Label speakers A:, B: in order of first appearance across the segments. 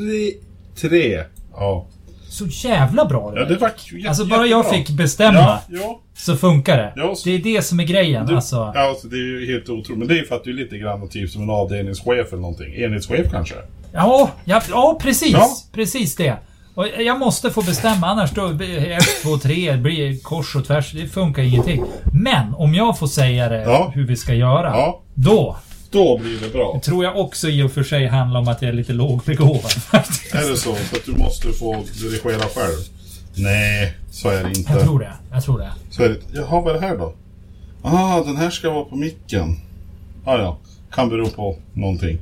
A: Tre. tre.
B: Ja.
C: Så jävla bra det
B: Ja,
C: är.
B: det vart ju jätte-
C: Alltså bara jag
B: jättebra.
C: fick bestämma
B: Ja, ja.
C: så funkar det.
B: Ja, så-
C: Det är det som är grejen
B: Du,
C: alltså.
B: ja, alltså, det är ju helt otroligt. Men det är för att du är lite grann typ som en avdelningschef eller någonting. Enhetschef kanske.
C: Ja, ja, ja precis.
B: Ja.
C: Precis det. Och jag måste få bestämma annars då blir 1, 2, 3 blir kors och tvärs. Det funkar ingenting. Men om jag får säga det
B: Ja.
C: hur vi ska göra.
B: Ja.
C: Då
B: Då blir det bra.
C: tror jag också i och för sig handlar om att jag är lite lågbegåvad faktiskt.
B: Är det så? För att du måste få dirigera själv? Nej, så är det inte.
C: Jag tror det. Jag tror det.
B: Så är det. Jaha, vad är det här då? Ah, den här ska vara på micken. Ah, ja, kan bero på någonting.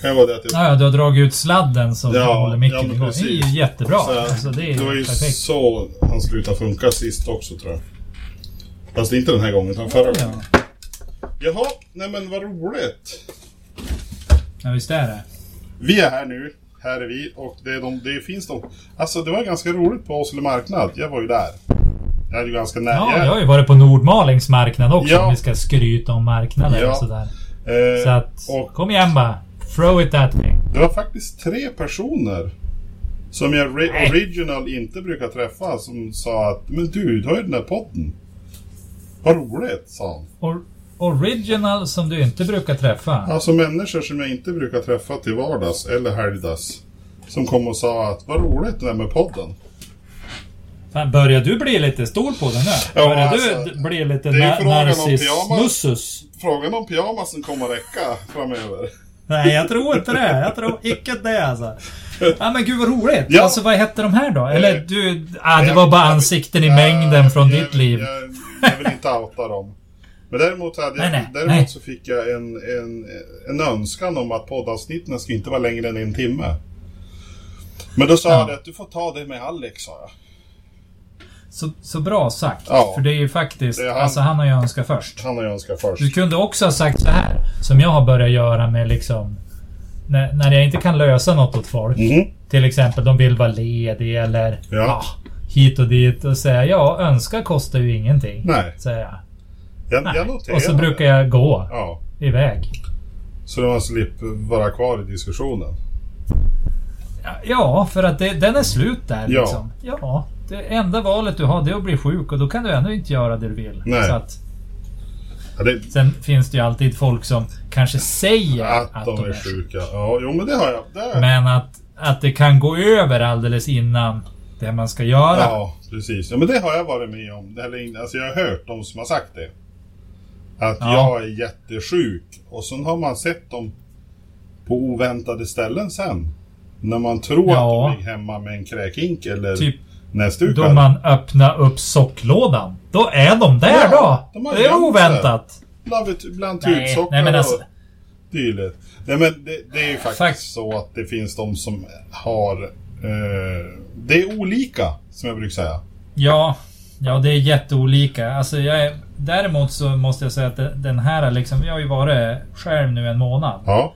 B: Kan ju vara det att det
C: Ja, ja, du har dragit ut sladden som
B: Ja,
C: håller
B: ja,
C: micken
B: men
C: igång. Det är
B: precis.
C: ju jättebra.
B: Så,
C: alltså, det är
B: det var ju
C: ju perfekt.
B: så han slutade funka sist också tror jag. Fast inte den här gången utan förra gången.
C: Ja.
B: Jaha, nej men vad roligt.
C: ja, visst är det.
B: Vi är här nu. Här är vi och det, är de, det finns de. Alltså det var ganska roligt på Åsele marknad. Jag var ju där. Jag är ju ganska nära.
C: Ja, jag har ju varit på Nordmalings marknad också
B: Ja.
C: om vi ska skryta om marknader
B: Ja.
C: och sådär.
B: Eh,
C: Så att,
B: och-
C: kom igen bara. Throw it at me.
B: Det var faktiskt tre personer som jag ri-
C: Nej.
B: original inte brukar träffa som sa att Men du, du har ju den där podden. Vad roligt, sa han.
C: Or original som du inte brukar träffa.
B: Alltså människor som jag inte brukar träffa till vardags eller helgdags. Som kom och sa att vad roligt det där med podden.
C: Fan, börjar du bli lite stor på den nu?
B: Ja,
C: börjar
B: alltså,
C: du d- bli lite
B: det är ju
C: na-
B: frågan om pyjamas.
C: narcissmussus?
B: Frågan om pyjamasen kommer att räcka framöver.
C: Nej, jag tror inte det. Jag tror icke det alltså. Ja men gud vad roligt.
B: Ja.
C: Alltså vad hette de här då? Eller
B: Eh,
C: du... Ah, det var bara ansikten i
B: Jag-
C: mängden från
B: jag-
C: ditt liv.
B: Jag, jag vill inte outa dem. Men däremot, hade jag,
C: Nej, nej,
B: däremot
C: nej.
B: så fick jag en, en, en önskan om att poddavsnitten ska inte vara längre än en timme. Men då sa
C: Ja.
B: jag det att du får ta det med Alex, sa jag.
C: Så, så bra sagt.
B: Ja.
C: För det är ju faktiskt...
B: Det är han.
C: Alltså han har ju önskat först.
B: Han har jag önskat först.
C: Du kunde också ha sagt så här. Som jag har börjat göra med liksom... När, när jag inte kan lösa något åt folk.
B: Mhm.
C: Till exempel, de vill vara lediga eller... ah,
B: Ja.
C: hit och dit och säga ja, önska kostar ju ingenting.
B: Nej,
C: Säger jag.
B: jag,
C: Nej.
B: jag noterar
C: och så
B: det.
C: brukar jag gå
B: Ja,
C: iväg.
B: så man slipper vara kvar i diskussionen.
C: Ja, för att det, den är slut där
B: Ja.
C: liksom. Ja. Det enda valet du har det är att bli sjuk och då kan du ändå inte göra det du vill.
B: Nej.
C: Så att,
B: Ja, det,
C: sen finns det ju alltid folk som kanske säger
B: att, de är sjuka. Ja, jo men det har jag. Det har jag.
C: Men att, att det kan gå över alldeles innan det man ska göra.
B: Ja, precis. Ja, men det har jag varit med om. Det här är in- Alltså, jag har hört de som har sagt det. Att
C: Ja.
B: jag är jättesjuk. Och sen har man sett dem på oväntade ställen sen. När man tror
C: Ja.
B: att de ligger hemma med en kräkink eller
C: Typ
B: näsdukar.
C: Då man öppnar upp socklådan. Då är de där
B: Ja,
C: då!
B: de har
C: det är
B: gömt sig.
C: oväntat.
B: Bland, bland
C: Nej,
B: tutsockar
C: nej men alltså.
B: och dylikt. Nej men det, det är ju faktiskt
C: Fakt-
B: så att det finns de som har... Eh, det är olika, som jag brukar säga.
C: Ja, ja det är jätteolika. Alltså jag är, däremot så måste jag säga att de- den här liksom, jag har ju varit skärm nu en månad.
B: Ja.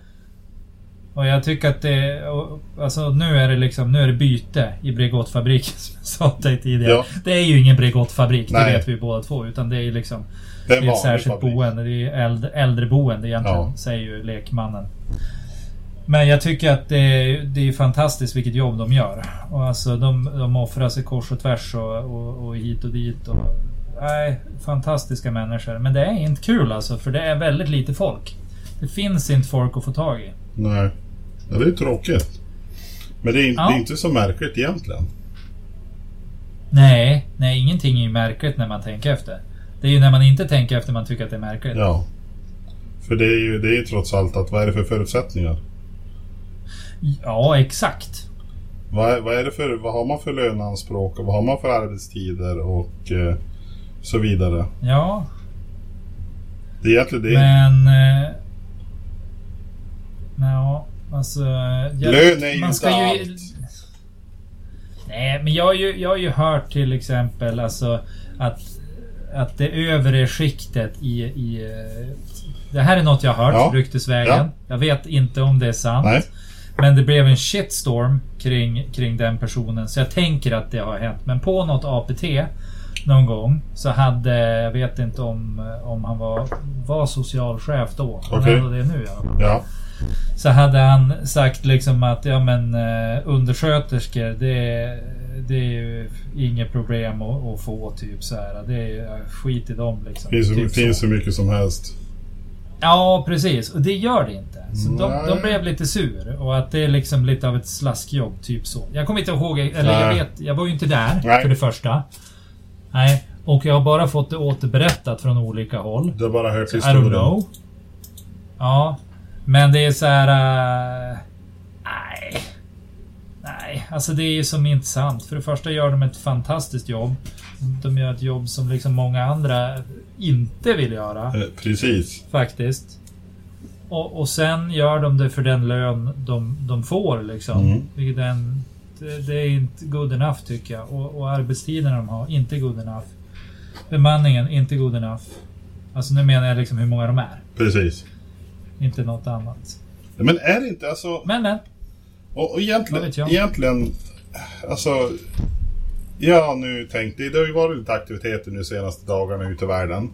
C: Och jag tycker att det, och- alltså nu är det liksom, nu är det byte i Bregottfabriken som jag sa till dig tidigare.
B: Ja.
C: Det är ju ingen Bregottfabrik, det
B: Nej.
C: vet vi båda två. Utan det är ju liksom,
B: Det
C: det
B: är en
C: är
B: vanlig
C: ett särskilt
B: fabrik.
C: boende, det är äldre, äldreboende egentligen,
B: Ja.
C: säger ju lekmannen. Men jag tycker att det är, det är fantastiskt vilket jobb de gör. Och alltså, de, de offrar sig kors och tvärs och, och, och hit och dit. Och, nej, fantastiska människor. Men det är inte kul alltså, för det är väldigt lite folk. Det finns inte folk att få tag i.
B: Nej. Ja, det är tråkigt. Men det är, in,
C: Ja.
B: det är inte så märkligt egentligen.
C: Nej, nej, ingenting är ju märkligt när man tänker efter. Det är ju när man inte tänker efter man tycker att det är märkligt.
B: Ja. För det är ju det är ju trots allt att vad är det för förutsättningar?
C: ja exakt.
B: Vad, är- vad, är det för, vad har man för löneanspråk och vad har man för arbetstider och eh, så vidare.
C: Ja,
B: Det är egentligen det.
C: Men... Eh, ja, alltså... Jag,
B: Lön är ju
C: man ska
B: inte
C: ju-
B: allt.
C: Nej, men jag har, ju, jag har ju hört till exempel alltså att, att det övre skiktet i... i eh, det här är något jag har hört,
B: Ja.
C: ryktesvägen.
B: Ja.
C: Jag vet inte om det är sant.
B: Nej.
C: Men det blev en shitstorm kring, kring den personen, så jag tänker att det har hänt. Men på något APT någon gång så hade, jag vet inte om, om han var, var socialchef då. Han
B: Okej.
C: är ändå det nu i alla fall.
B: Ja.
C: Så hade han sagt liksom att ja men eh, undersköterskor det är, det är ju inget problem att, att få typ så här. Det är ja, skit i dem liksom.
B: Finns, hur-
C: typ så.
B: finns hur mycket som helst.
C: Ja, precis. Och det gör det inte. Så de,
B: Nej.
C: de blev lite sur. Och att det är liksom lite av ett slaskjobb, typ så. Jag kommer inte ihåg, eller jag
B: Nej.
C: vet, jag var ju inte där
B: Nej.
C: för det första. Nej. Och jag har bara fått det återberättat från olika håll.
B: Det är bara hört
C: I don't
B: historien.
C: know. Ja. Men det är så här... eh, nej. Nej, alltså det är ju som inte sant. För det första gör de ett fantastiskt jobb. De gör ett jobb som liksom många andra inte vill göra.
B: Eh, Precis.
C: Faktiskt. Och, och sen gör de det för den lön de, de får liksom.
B: Mm.
C: Vilket är en, det, det är inte good enough tycker jag. Och, och arbetstiderna de har, inte good enough. Bemanningen, inte good enough. Alltså nu menar jag liksom hur många de är.
B: Precis.
C: Inte något annat.
B: Men är det inte alltså...
C: Men men.
B: Och, och
C: Vad
B: egentligen,
C: vet jag?
B: egentligen, alltså... Jag har nu tänkt, det det har ju varit lite aktiviteter nu senaste dagarna ute i världen.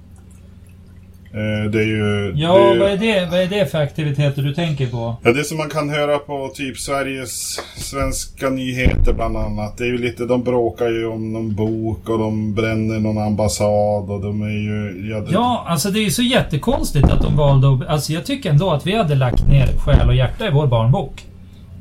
B: Eh, det är ju...
C: Ja,
B: det är ju,
C: vad, är det, vad är det för aktiviteter du tänker på?
B: Ja, det som man kan höra på typ Sveriges svenska nyheter bland annat. Det är ju lite, de bråkar ju om någon bok och de bränner någon ambassad och de är ju... Ja, det,
C: Ja, alltså det är ju så jättekonstigt att de valde att... Alltså jag tycker ändå att vi hade lagt ner själ och hjärta i vår barnbok.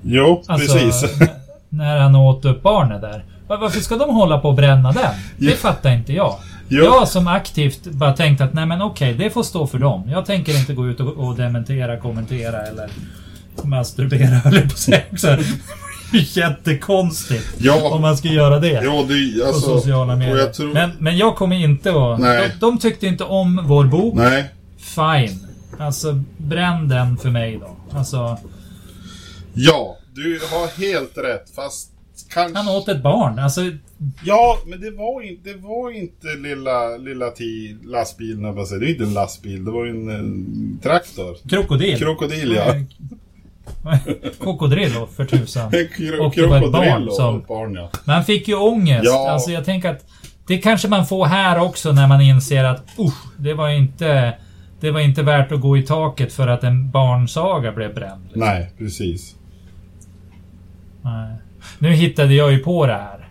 B: jo
C: Alltså,
B: precis.
C: n- när han åt upp barnet där. Va- Varför ska de hålla på och bränna den? Det
B: Ja.
C: fattar inte jag.
B: Jo.
C: Jag som aktivt bara tänkt att nej men okej, det får stå för dem. Jag tänker inte gå ut och, och dementera, kommentera eller masturbera höll jag på att säga också. Det är Jättekonstigt
B: Ja.
C: om man ska göra det.
B: Ja, det är ju-
C: På
B: alltså...
C: sociala medier.
B: Och jag tror,
C: men, men jag kommer inte att...
B: Nej.
C: De, de tyckte inte om vår bok.
B: Nej.
C: Fine. Alltså, bränn den för mig då. Alltså,
B: Ja, du har helt rätt. Fast kanske...
C: han åt ett barn. Alltså,
B: Ja, men det var, in, det var inte lilla, lilla ti, lastbilen, höll jag på att säga. Det är inte en lastbil, det var ju en, en traktor.
C: krokodil.
B: Krokodil, ja.
C: Krokodrillo för tusan.
B: En kro,
C: Och det var ett barn
B: krokodil
C: som-
B: och ett barn, ja.
C: Men han fick ju ångest.
B: Ja.
C: Alltså jag tänker att det kanske man får här också när man inser att usch, det var inte... Det var inte värt att gå i taket för att en barnsaga blev bränd.
B: Nej, precis.
C: Nej. Nu hittade jag ju på det här.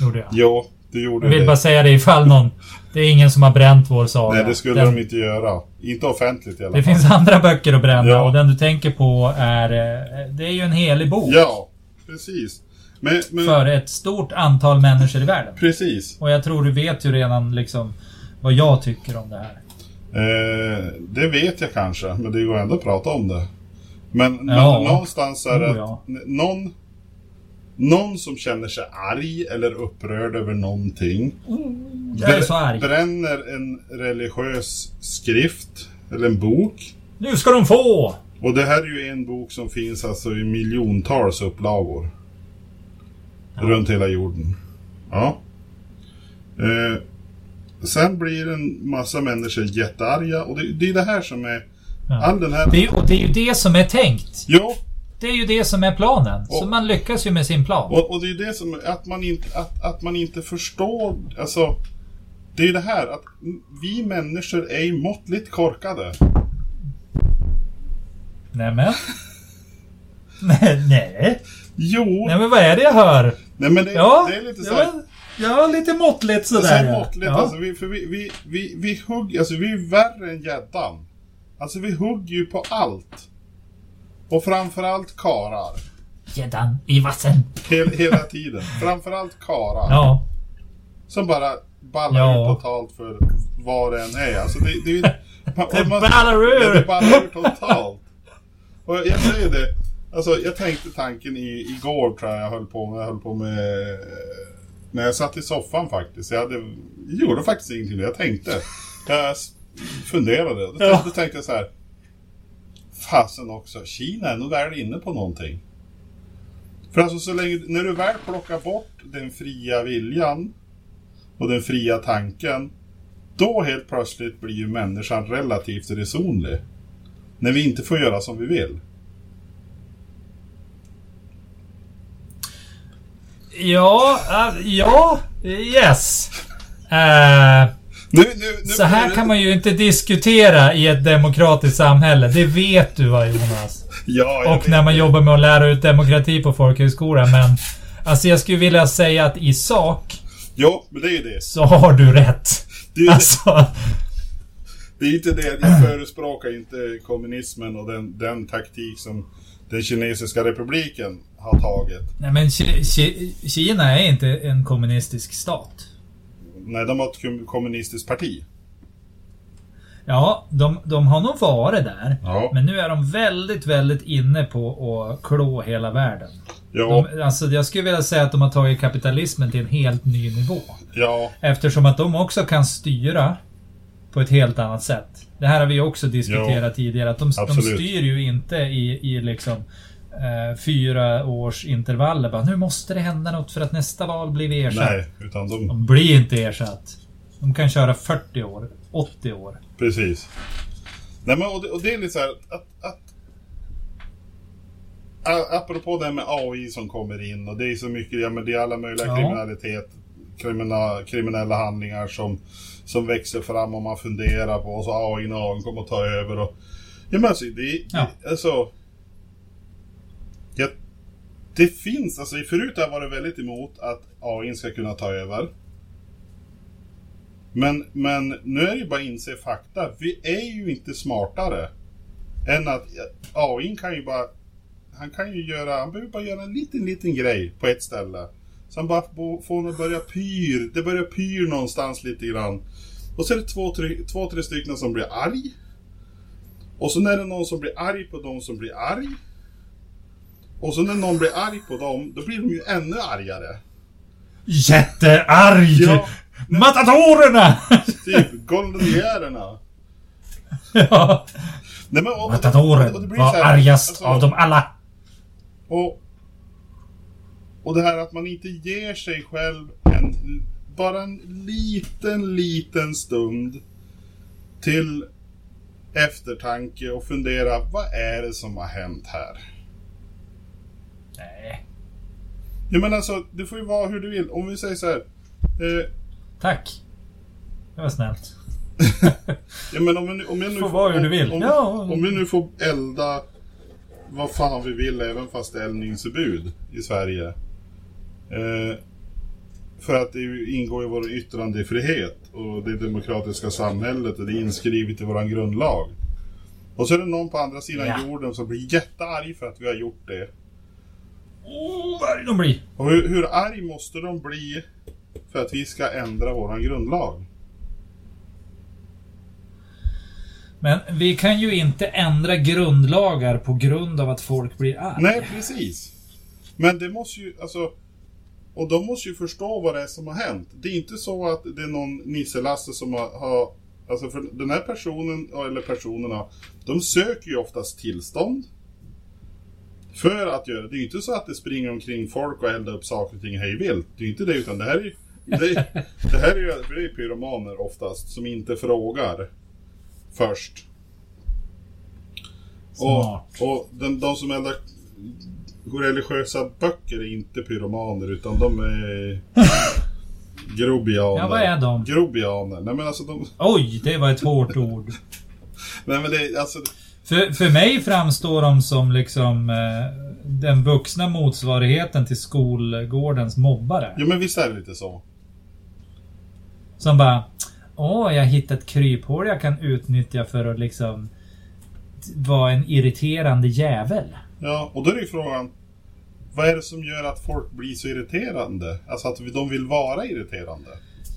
C: Gjorde jag.
B: Jo, du gjorde
C: Jag vill
B: det.
C: bara säga det ifall någon... Det är ingen som har bränt vår saga.
B: Nej, det skulle
C: Den-
B: de inte göra. Inte offentligt i alla
C: Det
B: fall.
C: finns andra böcker att bränna
B: Ja.
C: och den du tänker på är... eh, Det är ju en helig bok.
B: Ja, precis. Men, men
C: För ett stort antal människor i världen.
B: precis.
C: Och jag tror du vet ju redan liksom vad jag tycker om det här.
B: Eh, det vet jag kanske, men det går ändå att prata om det. Men,
C: Ja.
B: men någonstans är det
C: Oh,
B: att
C: ja.
B: n- någon, någon som känner sig arg eller upprörd över någonting
C: Jag är så arg.
B: bränner en religiös skrift eller en bok.
C: Nu ska de få!
B: Och det här är ju en bok som finns alltså i miljontals upplagor. Runt hela jorden. Ja. Eh, sen blir en massa människor jättearga och det, det är det här som är
C: Ja.
B: all den
C: Det är,
B: här...
C: ju- och det är ju det som är tänkt.
B: Jo,
C: Det är ju det som är planen. Så
B: Och-
C: man lyckas ju med sin plan.
B: och, och det är det som att man inte, att, att man inte förstår, alltså det är det här att vi människor är ju måttligt korkade.
C: Nämen. nej, nej.
B: Jo,
C: Nej men vad är det jag hör?
B: nej men det,
C: Ja,
B: det är lite så
C: ja,
B: här,
C: men- ja lite måttligt
B: Det är så
C: sådär. ja.
B: måttligt.
C: ja.
B: Alltså, vi, för vi, vi, vi, vi hugger, alltså vi är värre än gäddan. Alltså vi hugger ju på allt. Och framförallt karar.
C: Gäddan i vassen.
B: Hel, hela tiden. Framförallt karar.
C: Ja.
B: Som bara ballar
C: Ja.
B: ur totalt för vad det än är. Alltså det, det, det,
C: Det ballar ur!
B: Ja, det ballar ur totalt. Och jag säger det. Alltså jag tänkte tanken i, igår tror jag jag höll på med. Jag höll på med eh, när jag satt i soffan faktiskt. Jag hade, gjorde faktiskt ingenting. Jag tänkte. Jag s- funderade. Då,
C: Ja.
B: då tänkte jag så här. Fasen också. Kina är nog väl inne på någonting. För alltså så länge, när du väl plockar bort den fria viljan och den fria tanken, då helt plötsligt blir ju människan relativt resonlig. När vi inte får göra som vi vill.
C: Ja, äh, ja, yes. Eh,
B: Nu, nu, nu
C: så här kan man ju inte diskutera i ett demokratiskt samhälle. Det vet du va Jonas?
B: Ja, jag
C: Och när man
B: vet.
C: jobbar med att lära ut demokrati på folkhögskolan. Men alltså jag skulle vilja säga att i sak
B: Jo, men det är ju det.
C: så har du rätt.
B: Det är, ju
C: Alltså,
B: det är inte det, jag förespråkar inte kommunismen och den, den taktik som den kinesiska republiken har tagit.
C: nej men Ki- Ki- Kina är inte en kommunistisk stat.
B: Nej, de har ett kom- kommunistiskt parti.
C: Ja, de, de har nog varit där.
B: Ja.
C: Men nu är de väldigt, väldigt inne på att klå hela världen.
B: Ja,
C: De, alltså, jag skulle vilja säga att de har tagit kapitalismen till en helt ny nivå.
B: ja,
C: Eftersom att de också kan styra på ett helt annat sätt. Det här har vi också diskuterat tidigare. Att de, de
B: absolut.
C: styr ju inte i, i liksom eh, fyra års intervaller. Bara, nu måste det hända något för att nästa val blir vi ersatt.
B: nej, utan de...
C: De blir inte ersatt. De kan köra 40 år, 80 år.
B: Precis. Nej, men, och, det, och det är lite så här att, att a- Apropå det här med AI som kommer in och det är så mycket, ja men det är alla möjliga
C: Ja.
B: kriminalitet, krimina, kriminella handlingar som, som växer fram och man funderar på och så AI någon kommer att ta över och Ja men alltså, det,
C: Ja.
B: det alltså ja, Det finns, alltså förut har jag varit väldigt emot att AI ska kunna ta över men, men nu är det ju bara att inse fakta. Vi är ju inte smartare än att AI kan ju bara... Han kan ju göra... Han behöver bara göra en liten, liten grej på ett ställe. Så han bara bo- får honom att börja pyr. Det börjar pyr någonstans lite grann. Och så är det två, tre, två, tre stycken som blir arg. Och så är det någon som blir arg på de som blir arg. Och så när någon blir arg på dem, då blir de ju ännu argare.
C: Jättearg!
B: Ja.
C: Matatorerna!
B: Typ Goldenjärerna.
C: ja.
B: Nej, men, och- och- och det
C: Matadoren
B: blir
C: var
B: så här,
C: argast
B: alltså,
C: av dem alla.
B: Och, och det här att man inte ger sig själv en, bara en liten, liten stund till eftertanke och fundera, vad är det som har hänt här?
C: Nej.
B: Jag menar alltså, det får ju vara hur du vill. Om vi säger så här, eh,
C: Tack. Det var snällt.
B: ja, men om, jag nu- om jag nu
C: Får vara hur du
B: om-
C: vill.
B: Om,
C: Ja.
B: om vi nu får elda vad fan vi vill, även fast det är eldningsförbud i Sverige. Eh, för att det ju ingår i vår yttrandefrihet och det demokratiska samhället och det är inskrivet i vår grundlag. Och så är det någon på andra sidan
C: Ja.
B: jorden som blir jättearg för att vi har gjort det.
C: Oh, vad arg de blir.
B: Och hur, hur arg måste de bli för att vi ska ändra vår grundlag?
C: Men vi kan ju inte ändra grundlagar på grund av att folk blir arg.
B: Nej, precis. Men det måste ju, alltså... Och de måste ju förstå vad det är som har hänt. Det är inte så att det är någon Nisse-Lasse som har, har... Alltså för den här personen, eller personerna, de söker ju oftast tillstånd. För att göra det. är ju inte så att det springer omkring folk och eldar upp saker och ting hejvilt. Det är ju inte det, utan det här är ju... Det, det här är ju för det är pyromaner oftast, som inte frågar först.
C: Smart.
B: Och den, de som eldar religiösa böcker är inte pyromaner utan de är grobianer.
C: Ja, vad är de?
B: Grobianer. Nej men alltså de...
C: Oj, det var ett hårt ord.
B: Nej men det är alltså...
C: För, för mig framstår de som liksom eh, den vuxna motsvarigheten till skolgårdens mobbare.
B: Jo men visst är det lite så.
C: Som bara... Åh, jag har hittat kryphål jag kan utnyttja för att liksom... t- Vara en irriterande jävel.
B: Ja, och då är det ju frågan. Vad är det som gör att folk blir så irriterande? Alltså att de vill vara irriterande.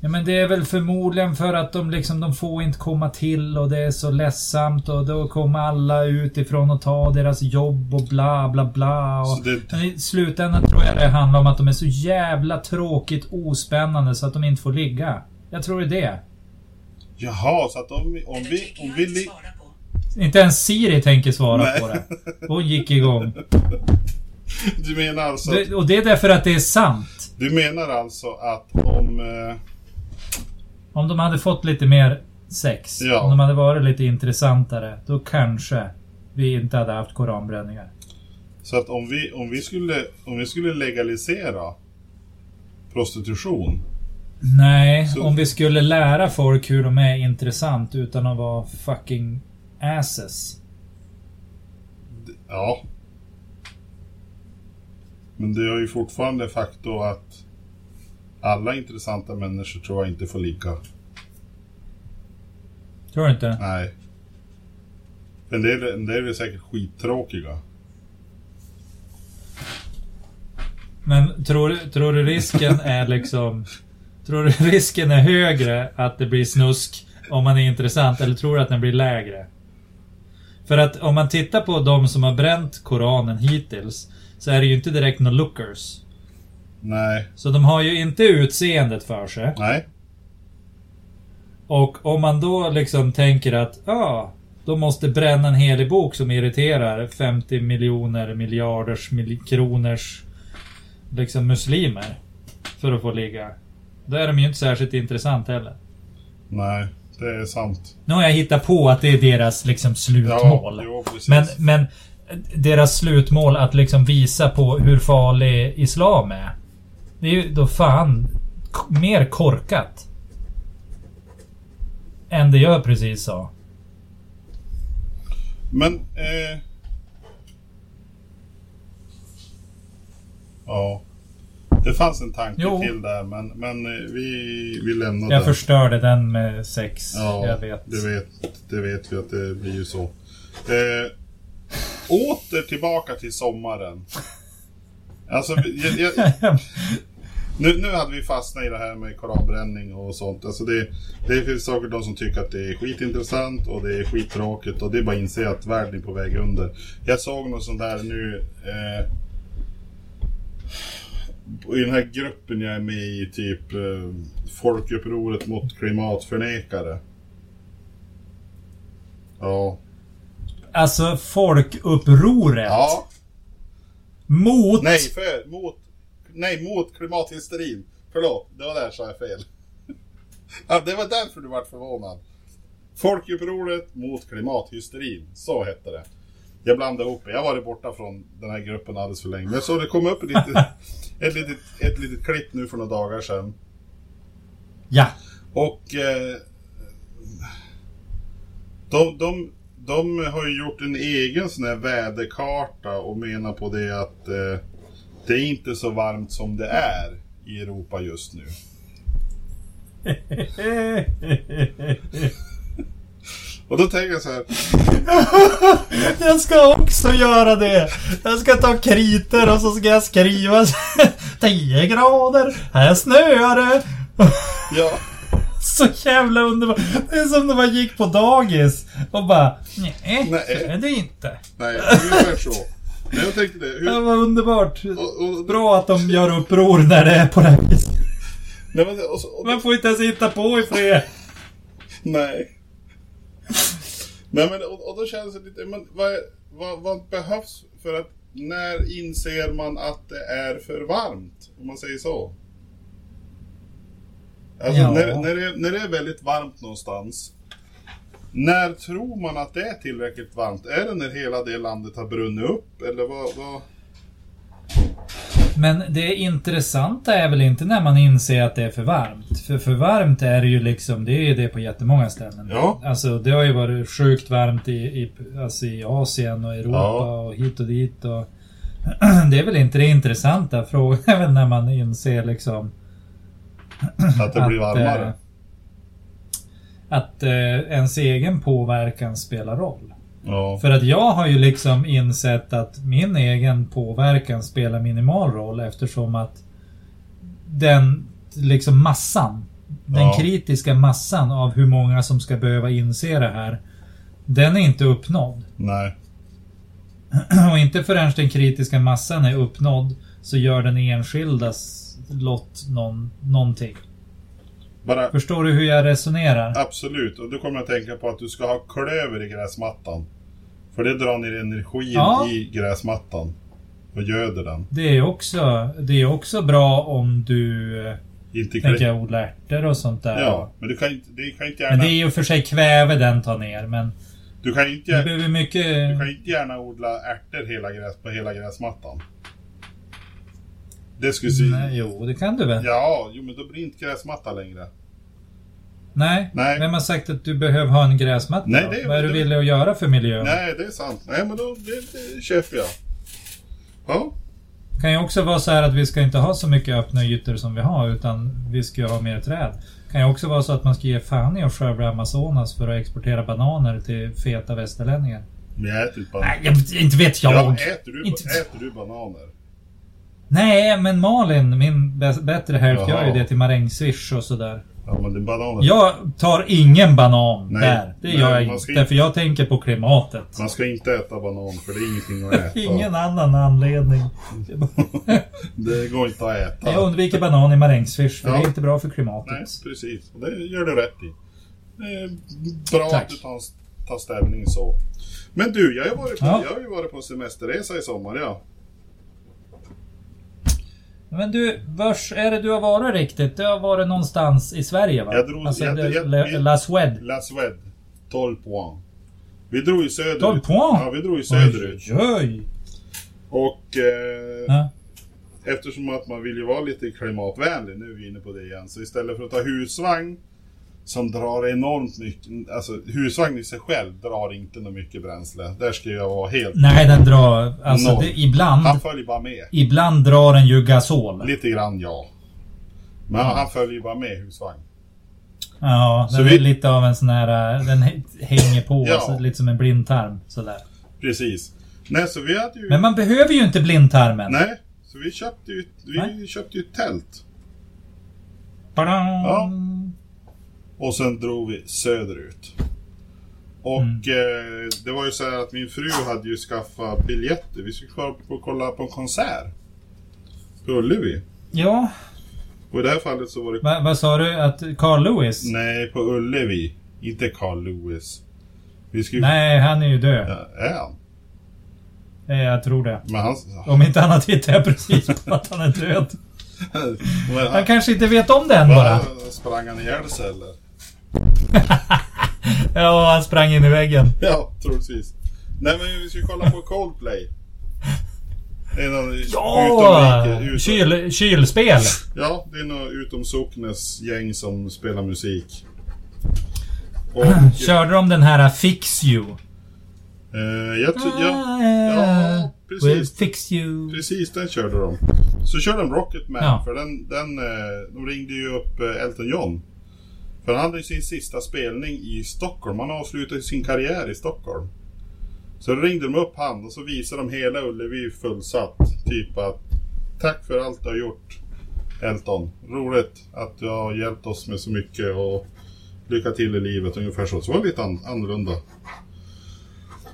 C: Ja, men det är väl förmodligen för att de liksom, de får inte komma till och det är så ledsamt och då kommer alla utifrån och tar deras jobb och bla bla bla. Och...
B: Så det,
C: Men I slutändan tror jag det handlar om att de är så jävla tråkigt ospännande så att de inte får ligga. Jag tror det är det.
B: jaha, så att om, vi- om vi... Om vi li-
C: Inte ens Siri tänker svara
B: Nej.
C: på det. Hon gick igång.
B: du menar alltså...
C: Det, och det är därför att det är sant.
B: Du menar alltså att om... Eh,
C: Om de hade fått lite mer sex,
B: Ja.
C: om de hade varit lite intressantare, då kanske vi inte hade haft koranbränningar.
B: Så att om vi, om vi, skulle, om vi skulle legalisera prostitution.
C: Nej,
B: Så-
C: om vi skulle lära folk hur de är intressant utan att vara fucking asses.
B: Ja. Men det är ju fortfarande faktum att alla intressanta människor tror jag inte får lika.
C: Tror du inte?
B: Nej. En del, en del är säkert skittråkiga.
C: Men tror, tror du risken är liksom... Tror du risken är högre att det blir snusk om man är intressant eller tror du att den blir lägre? För att om man tittar på de som har bränt Koranen hittills så är det ju inte direkt några lookers.
B: Nej.
C: Så de har ju inte utseendet för sig.
B: Nej.
C: Och om man då liksom tänker att ja, ah, de måste bränna en helig bok som irriterar 50 miljoner miljarders mil- kronors liksom muslimer för att få ligga. Då är de ju inte särskilt intressant heller.
B: Nej. Det är sant.
C: Nu har jag hittat på att det är deras liksom slutmål.
B: jo, precis.
C: men, men deras slutmål att liksom visa på hur farlig islam är. Det är ju då fan k- mer korkat. Än det jag precis sa.
B: Men... Eh... Ja. Det fanns en tanke
C: Jo.
B: till där men, men eh, vi, vi lämnar
C: Jag
B: den.
C: förstörde den med sex.
B: Alltså, Ja,
C: jag vet.
B: Det, vet, det vet vi att det blir ju så. Eh, åter tillbaka till sommaren. Alltså, vi- jag, jag, nu, nu hade vi fastnat i det här med koranbränning och sånt. Alltså det, det finns säkert de som tycker att det är skitintressant och det är skittråkigt och det är bara att inse att världen är på väg under. Jag såg något sånt där nu eh, i den här gruppen jag är med i, typ eh, Folkupproret mot klimatförnekare. Ja.
C: alltså folkupproret.
B: Ja.
C: Mot...
B: Nej, för, mot, nej, mot klimathysterin. Förlåt, det var där jag sa jag fel. Ja, det var därför du vart förvånad. Folkupproret mot klimathysterin, så hette det. Jag blandade ihop det. Jag var borta från den här gruppen alldeles för länge. Men jag såg det kom upp ett litet, ett litet, ett litet klipp nu för några dagar sedan.
C: Ja.
B: Och eh, de, de, de har ju gjort en egen sån här väderkarta och menar på det att eh, det är inte så varmt som det är i Europa just nu. Och då tänker jag så här,
C: Jag ska också göra det! Jag ska ta kriter och så ska jag skriva 10 grader, här snöar det.
B: ja,
C: Så jävla underbart! Det är som när man gick på dagis och bara nej,
B: Nej.
C: så är det inte.
B: nej, ungefär så. Men jag tänkte det,
C: Det
B: hur,
C: var underbart!
B: och, och,
C: Bra att de gör uppror när det är på det här viset.
B: nej, men, och, så- och,
C: Man får inte ens hitta på i fred.
B: Nej. Nej men och, och då känns det lite, men vad, vad, vad behövs för att, när inser man att det är för varmt? Om man säger så. Alltså
C: Ja.
B: när, när, det, när det är väldigt varmt någonstans. När tror man att det är tillräckligt varmt? Är det när hela det landet har brunnit upp? Eller vad? vad?
C: Men det intressanta är väl inte när man inser att det är för varmt. För för varmt är det ju liksom, det är ju det på jättemånga ställen.
B: Ja.
C: Alltså det har ju varit sjukt varmt i, i, alltså, i Asien och Europa
B: Ja.
C: och hit och dit. Och det är väl inte det intressanta. Frågan är väl när man inser liksom
B: Att det blir
C: att,
B: varmare?
C: eh, Att eh, ens egen påverkan spelar roll.
B: ja.
C: För att jag har ju liksom insett att min egen påverkan spelar minimal roll eftersom att den liksom massan, den
B: Ja.
C: kritiska massan av hur många som ska behöva inse det här, den är inte uppnådd.
B: Nej.
C: Och inte förrän den kritiska massan är uppnådd så gör den enskildas lott någon, någonting.
B: Bara
C: Förstår du hur jag resonerar?
B: Absolut, och då kommer jag att tänka på att du ska ha klöver i gräsmattan. För det drar ner energin
C: Ja.
B: i gräsmattan. Och göder den.
C: Det är också, det är också bra om du eh,
B: Inte klä...
C: tänker jag odla ärtor och sånt där.
B: Ja, men du kan inte, det kan inte
C: Men
B: gärna,
C: det är ju för sig kväve den tar ner, men
B: du kan inte,
C: du
B: gär-
C: behöver mycket...
B: du kan inte gärna odla ärtor hela gräs, på hela gräsmattan. Det skulle se...
C: Nej, jo, det kan du väl?
B: Ja, jo men då blir inte gräsmatta längre.
C: Nej.
B: Nej.
C: Vem har sagt att du behöver ha en gräsmatta?
B: Nej,
C: då?
B: det är-
C: Vad är du
B: det-
C: villig att göra för miljön?
B: Nej, det är sant. Nej, men då det, det köper jag. Ja,
C: Det kan ju också vara så här att vi ska inte ha så mycket öppna ytor som vi har utan vi ska ju ha mer träd. Det kan ju också vara så att man ska ge fan i att skövla Amazonas för att exportera bananer till feta västerlänningar.
B: men jag äter ju bananer.
C: Nej, jag, inte vet jag!
B: Ja, eh. äter, du,
C: Inte-
B: äter du bananer?
C: Nej, men Malin, min bä- bättre hälft, gör ju
B: Jaha.
C: det till marängsviss och sådär.
B: Ja, men det är bananer.
C: Jag tar ingen banan
B: Nej,
C: där. Det
B: nej,
C: gör jag
B: man
C: inte,
B: ska
C: för jag tänker på klimatet.
B: Man ska inte äta banan för det är ingenting att äta.
C: Ingen annan anledning.
B: Det går inte att äta.
C: Jag undviker banan i marängsviss, för
B: Ja.
C: det är inte bra för klimatet.
B: Nej, precis. Och det gör du rätt i. Det är bra
C: Tack.
B: att du tar, tar ställning så. Men du, jag har ju varit på,
C: Ja.
B: jag har ju varit på en semesterresa i sommar, ja.
C: Men du, vars är det du har varit riktigt? Du har varit någonstans i Sverige va?
B: Jag drog-
C: alltså,
B: jag-
C: det-
B: jag-
C: La-
B: jag-
C: La Suède.
B: La Suède, 12 poäng. Vi drog ju söderut.
C: 12 poäng?
B: Ja, vi drog ju söderut.
C: Oj, oj.
B: Och eh,
C: Ja.
B: eftersom att man vill ju vara lite klimatvänlig, nu är vi inne på det igen, så istället för att ta husvagn som drar enormt mycket, alltså husvagn i sig själv drar inte något mycket bränsle. Där ska jag vara helt...
C: Nej, den drar... Alltså,
B: Noll.
C: det, ibland...
B: Han följer bara med.
C: Ibland drar den ju gasol.
B: Lite grann ja. Men
C: Mm.
B: han följer ju bara med husvagn.
C: Ja,
B: Så
C: den
B: vi-
C: är lite av en sån här... eh, Den hä- hänger på,
B: Ja.
C: alltså, lite som en blindtarm. Sådär.
B: Precis. Nej, så vi hade ju...
C: Men man behöver ju inte blindtarmen.
B: Nej, så vi köpte ju, vi
C: Nej.
B: köpte ju ett tält.
C: Badam.
B: Ja. Och sen drog vi söderut. Och
C: Mm.
B: eh, det var ju så här att min fru hade ju skaffat biljetter. Vi skulle kolla på, kolla på en konsert. På Ullevi.
C: ja.
B: Och i det här fallet så var det...
C: Va, vad sa du? Att Carl Lewis?
B: Nej, på Ullevi. Inte Carl Lewis. Vi skulle...
C: Nej, han är ju död.
B: Ja, är han?
C: Eh, Jag tror det.
B: Men han...
C: Om inte annat tittar jag precis på att han är död.
B: Men
C: Han
B: han...
C: kanske inte vet om det än bara.
B: Bara... Sprang han ihjäl sig eller?
C: Ja, han sprang in i väggen.
B: Ja, troligtvis. Nej men vi ska kolla på Coldplay. Det är någon
C: Ja!
B: utom riket- utom-
C: Kyl, kylspel!
B: Ja, det är någon utom socknes gäng som spelar musik. Och,
C: Körde de den här Fix You?
B: eh, jag tror... Ja, ja,
C: Will
B: precis.
C: fix you.
B: Precis, den körde de. Så körde de Rocketman,
C: Ja.
B: för den, den, eh, de ringde ju upp eh, Elton John. För han hade ju sin sista spelning i Stockholm, han avslutade ju sin karriär i Stockholm. Så då ringde de upp han och så visade de hela Ullevi fullsatt. Typ att Tack för allt du har gjort Elton. Roligt att du har hjälpt oss med så mycket och lycka till i livet ungefär så. Så det var lite an- annorlunda.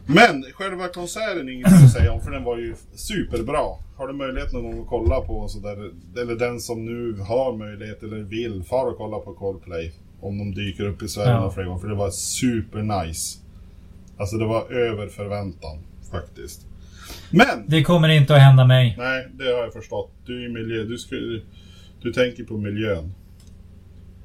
B: Men själva konserten är inget att säga om för den var ju superbra. Har du möjlighet någon gång att kolla på en sån där, eller den som nu har möjlighet eller vill, far och kolla på Coldplay. Om de dyker upp i Sverige
C: Ja.
B: någon fler gång, för det var supernice. Alltså det var över förväntan faktiskt. Men!
C: Det kommer inte att hända mig.
B: Nej, det har jag förstått. Du är miljö... Du, ska, du tänker på miljön.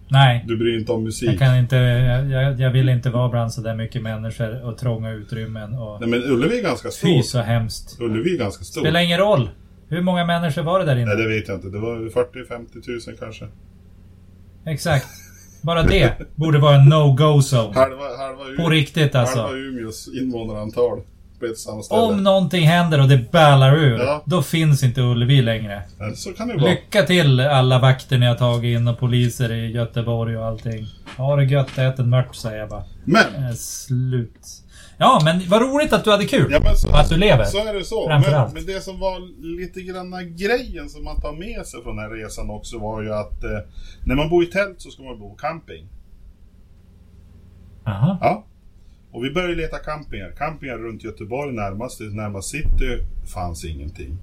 C: Nej.
B: Du bryr dig inte om musik.
C: Jag, kan inte, jag, jag vill inte vara bland så där mycket människor och trånga utrymmen och...
B: Nej, men Ullevi är ganska
C: Fy
B: stor.
C: så hemskt.
B: Ullevi är ganska stor.
C: Spelar ingen roll. Hur många människor var det där
B: Nej,
C: inne?
B: det vet jag inte. Det var 40-50 tusen kanske.
C: Exakt. Bara det borde vara en no-go-zone.
B: Halva, halva, U-
C: På riktigt
B: halva
C: alltså.
B: Umeås invånarantal på ett samma ställe.
C: Om någonting händer och det ballar ur,
B: Ja.
C: då finns inte Ullevi längre.
B: Ja, Så kan det vara.
C: Lycka till alla vakter ni har tagit in och poliser i Göteborg och allting. Ha det gött, ät en mört säger jag bara.
B: Men!
C: Eh, Slut. Ja, men vad roligt att du hade kul.
B: Ja, men så,
C: Och att du lever.
B: så är det så. Men,
C: Framförallt.
B: men det som var lite granna grejen som man tar med sig från den här resan också var ju att eh, när man bor i tält så ska man bo camping.
C: Aha.
B: Ja. Och vi började leta campingar. Campingar runt Göteborg närmast, närmast city, fanns ingenting.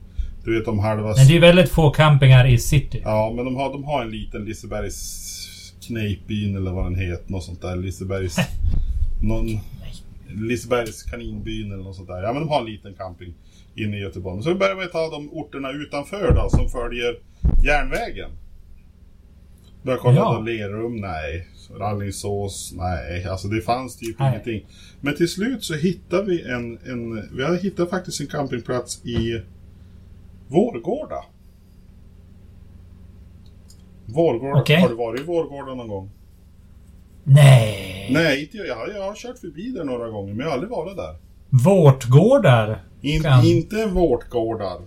B: Du vet de halva...
C: Men det är ju väldigt få campingar i city.
B: Ja, men de har, de har en liten Lisebergs knejpbyn eller vad den heter. Något sånt där. Lisebergs... någon... Lisebergs kaninbyn eller något sånt där. Ja, men de har en liten camping inne i Göteborg. Så börjar vi ta de orterna utanför då, som följer järnvägen. Börjar kolla
C: Ja.
B: då Lerum, nej. Rallingsås, nej. Alltså det fanns typ
C: Nej.
B: ingenting. Men till slut så hittade vi en, en... Vi har hittat faktiskt en campingplats i Vårgårda. Vårgårda.
C: Okej.
B: Har du varit i Vårgårda någon gång?
C: Nej!
B: Nej, inte jag. Jag har, jag har kört förbi där några gånger, men jag har aldrig varit där.
C: Vårtgårdar?
B: In,
C: Kan.
B: Inte vårtgårdar.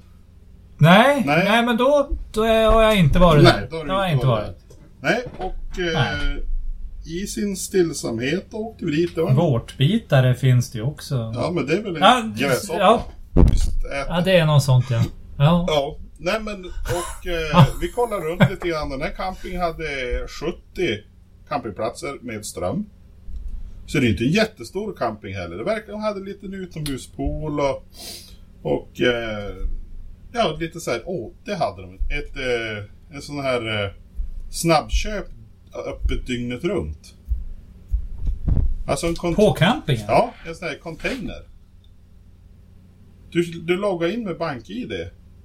C: Nej,
B: Nej.
C: nej. men då, då är- har jag inte varit
B: Nej,
C: där.
B: då har du
C: har jag
B: inte
C: inte
B: varit
C: varit.
B: Nej, och eh,
C: Nej.
B: i sin stillsamhet åkte vi dit. Det var en
C: Vårtbitare finns det ju också.
B: Ja, men det är väl en
C: Ja,
B: gräshoppa?
C: ja,
B: Visst, ät-
C: ja, det är något sånt ja. Ja,
B: ja. Nej, men och eh,
C: Ja.
B: vi kollar runt lite grann. Den här campingen hade 70 campingplatser med ström. Så det är inte en jättestor camping heller. Det verkar de hade lite utomhuspool och, och eh, ja, lite så här. Åh, det hade de. Ett, eh, en sån här eh, snabbköp öppet dygnet runt. Alltså en kont-
C: på campingen?
B: Ja, en sån här container. Du, du loggar in med BankID.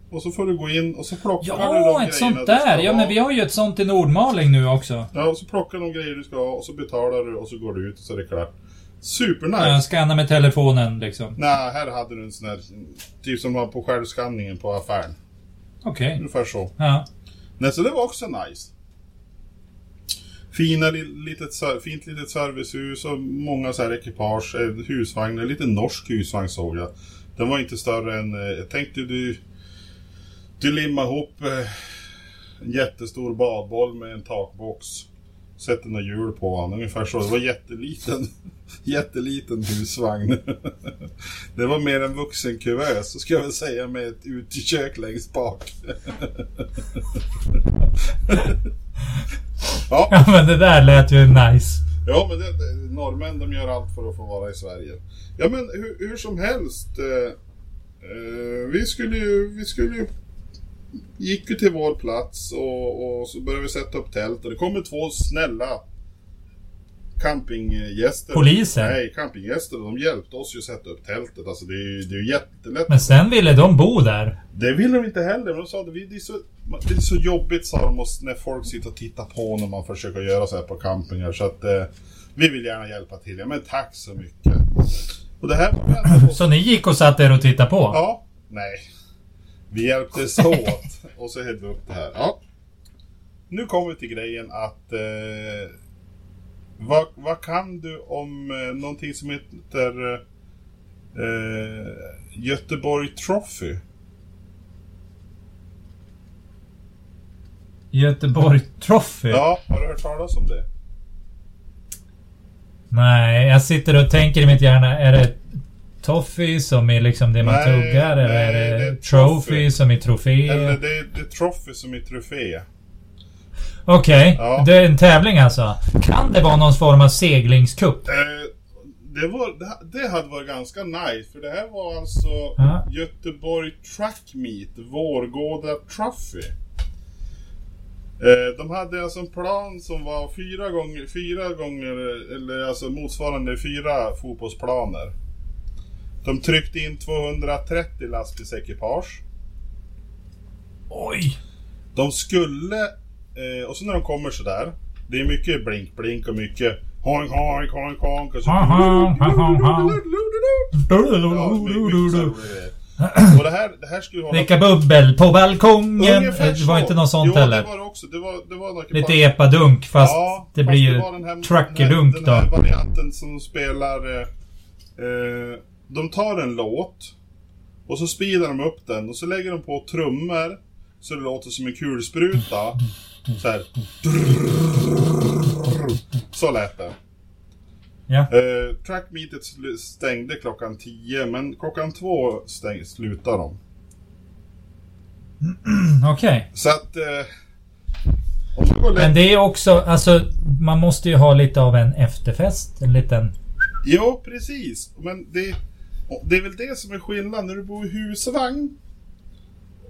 B: Och så får du gå in och så plockar du de
C: Ja,
B: grejerna
C: ett sånt
B: du ska
C: där. Ja,
B: ha.
C: men vi har ju ett sånt i Nordmaling nu också.
B: Ja, och så plockar de grejer du ska ha och så betalar du och så går du ut och så är det klart. Supernice!
C: Jag scannar med telefonen liksom.
B: Nej, här hade du en sån här, typ som var på självskanningen på affären.
C: Okej.
B: Ungefär så.
C: Ja.
B: Nej, så det var också nice. Fina, li- litet, ser- fint litet servicehus och många så här ekipage, eh, husvagnar, lite norsk husvagn såg jag. Den var inte större än, eh, jag tänkte du, du limmar ihop eh, en jättestor badboll med en takbox. Sätter några hjul på honom, ungefär så. Det var jätteliten, jätteliten husvagn. Det var mer en vuxen kuvös, så ska jag väl säga med ett utekök längst bak. ja,
C: ja, men det där lät ju nice.
B: Ja, men det, det, norrmän de gör allt för att få vara i Sverige. Ja, men hur, hur som helst. Eh, eh, vi skulle ju... Vi skulle ju gick ju till vår plats och, och så började vi sätta upp tält och det kommer två snälla campinggäster.
C: Poliser?
B: Nej, campinggäster. De hjälpte oss ju sätta upp tältet. Alltså det är ju, det är ju jättelätt.
C: Men sen ville de bo där.
B: Det ville de inte heller, men de sa att det är så, det är så jobbigt sa de oss, när folk sitter och tittar på när man försöker göra så här på campingar. Så att eh, vi vill gärna hjälpa till. Ja, men tack så mycket. Och det här var vi ändå på.
C: Så ni gick och satt er och tittade på?
B: Ja, nej. Vi hjälptes åt och så hällde vi upp det här. Ja. Nu kommer vi till grejen att eh, vad, vad kan du om eh, någonting som heter eh, Göteborg Trophy?
C: Göteborg Trophy?
B: Ja, har du hört talas om det?
C: Nej, jag sitter och tänker i mitt hjärna. Är det Toffee som är liksom det man
B: Nej,
C: tuggar? Eller
B: nej,
C: är det,
B: det är
C: Trophy
B: toffee.
C: som är trofé?
B: Eller det, det är trophy som är trofé.
C: Okej,
B: Ja.
C: det är en tävling alltså. Kan det vara någon form av seglingscup?
B: Eh, det, var, det, det hade varit ganska nice, för det här var alltså
C: Ja.
B: Göteborg Track Meet, Vårgårda Trophy. Eh, de hade alltså en plan som var fyra gånger, fyra gånger, eller alltså motsvarande fyra fotbollsplaner. De tryckte in 230 lastbilsekipage.
C: Oj!
B: De skulle, eh, och så när de kommer sådär, det är mycket blink-blink och mycket honk, honk, honk, honk och så...
C: Honk, honk, honk, honk, honk.
B: Ja, mycket- mycket så här roligt. Och det här, det här skulle hålla...
C: Dricka bubbel på balkongen.
B: Ungefär
C: Det var
B: så.
C: inte något sånt
B: jo,
C: heller.
B: det var det också. Det var, det var något
C: Lite epadunk fast det
B: fast
C: blir ju
B: var den här-
C: truckerdunk
B: den
C: då.
B: här- Den här varianten som spelar... Eh, eh, de tar en låt och så speedar de upp den och så lägger de på trummor så det låter som en kulspruta. Så här. Så lät det.
C: Ja.
B: Eh, trackmeetet sl- stängde klockan 10 men klockan 2 stäng- slutar de.
C: Mm, Okej.
B: Så att... Eh, om det går lätt
C: Men det är också, alltså man måste ju ha lite av en efterfest. En liten...
B: Ja, precis. Men det, det är väl det som är skillnaden. När du bor i husvagn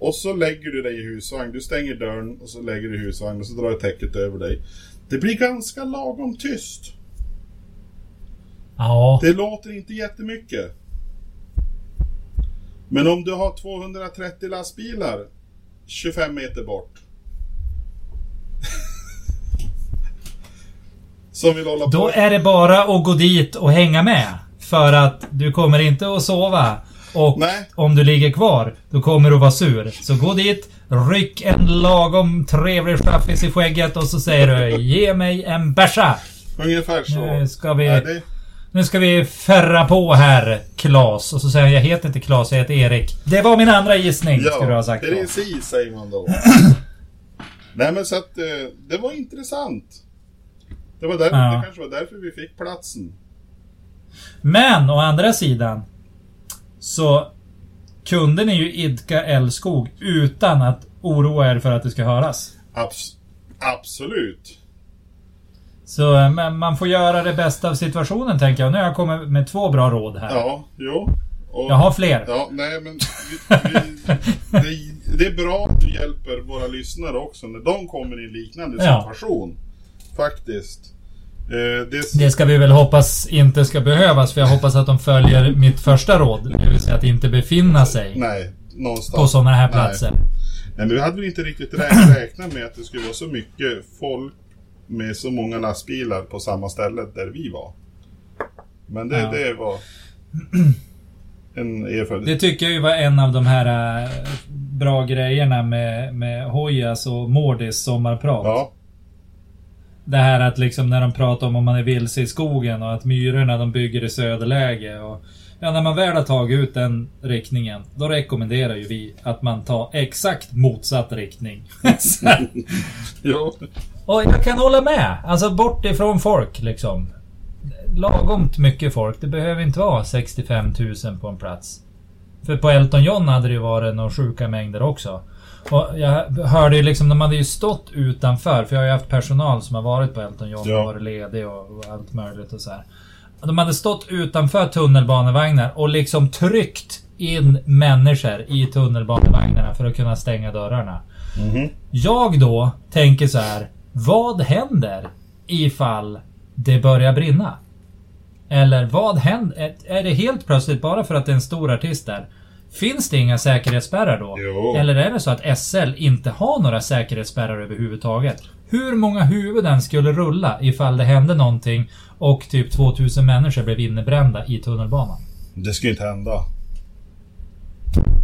B: och så lägger du dig i husvagn. Du stänger dörren och så lägger du i husvagn och så drar du täcket över dig. Det blir ganska lagom tyst.
C: Ja.
B: Det låter inte jättemycket. Men om du har 230 lastbilar 25 meter bort. som vill hålla
C: Då
B: på.
C: är det bara att gå dit och hänga med. För att du kommer inte att sova. Och
B: Nej.
C: om du ligger kvar, då kommer du vara sur. Så gå dit, ryck en lagom trevlig chaffis i skägget och så säger du Ge mig en bärsa!
B: Ungefär så.
C: Nu Eh, ska vi-
B: Är det...
C: Nu ska vi färra på här, Klas. Och så säger jag, jag heter inte Klas, jag heter Erik. Det var min andra gissning, skulle du ha sagt då.
B: precis säger man då. Nej men så att eh, det var intressant. Det, var där,
C: Ja.
B: det kanske var därför vi fick platsen.
C: Men å andra sidan så kunde ni ju idka älskog utan att oroa er för att det ska höras.
B: Abs- absolut.
C: Så eh, men man får göra det bästa av situationen tänker jag. Nu har jag kommit med två bra råd här.
B: Ja, jo. Och,
C: Jag har fler.
B: Ja, nej men vi, vi, det, det är bra att du hjälper våra lyssnare också när de kommer i en liknande
C: Ja.
B: situation. Faktiskt. Eh, det,
C: Det ska vi väl hoppas inte ska behövas för jag hoppas att de följer mitt första råd. Det vill säga att inte befinna sig
B: Nej, någonstans.
C: på sådana här
B: Nej.
C: platser.
B: Nej, men vi hade väl inte riktigt rä- räknat med att det skulle vara så mycket folk med så många lastbilar på samma ställe där vi var. Men det,
C: Ja.
B: det var en
C: Det
B: erfarenhet.
C: tycker jag ju var en av de här eh, bra grejerna med, med Hojas och Mårdis sommarprat.
B: Ja,
C: Det här att liksom när de pratar om om man är vilse i skogen och att myrorna de bygger i söderläge. Och, ja, när man väl har tagit ut den riktningen, då rekommenderar ju vi att man tar exakt motsatt riktning. Så här.
B: jo,
C: och jag kan hålla med. Alltså bort ifrån folk liksom. Lagomt mycket folk. Det behöver inte vara 65 000 på en plats. För på Elton John hade det ju varit några sjuka mängder också. Och jag hörde ju liksom, de hade ju stått utanför, för jag har ju haft personal som har varit på Elton John
B: Ja.
C: och varit ledig och, och allt möjligt och så här. De hade stått utanför tunnelbanevagnar och liksom tryckt in människor i tunnelbanevagnarna för att kunna stänga dörrarna. Jag då tänker så här, vad händer ifall det börjar brinna? Eller vad händer? Är det helt plötsligt bara för att det är en stor artist där? Finns det inga säkerhetsspärrar då?
B: Jo.
C: Eller är det så att SL inte har några säkerhetsspärrar överhuvudtaget? Hur många huvuden skulle rulla ifall det hände någonting och typ 2000 människor blev innebrända i tunnelbanan?
B: det ska ju inte hända.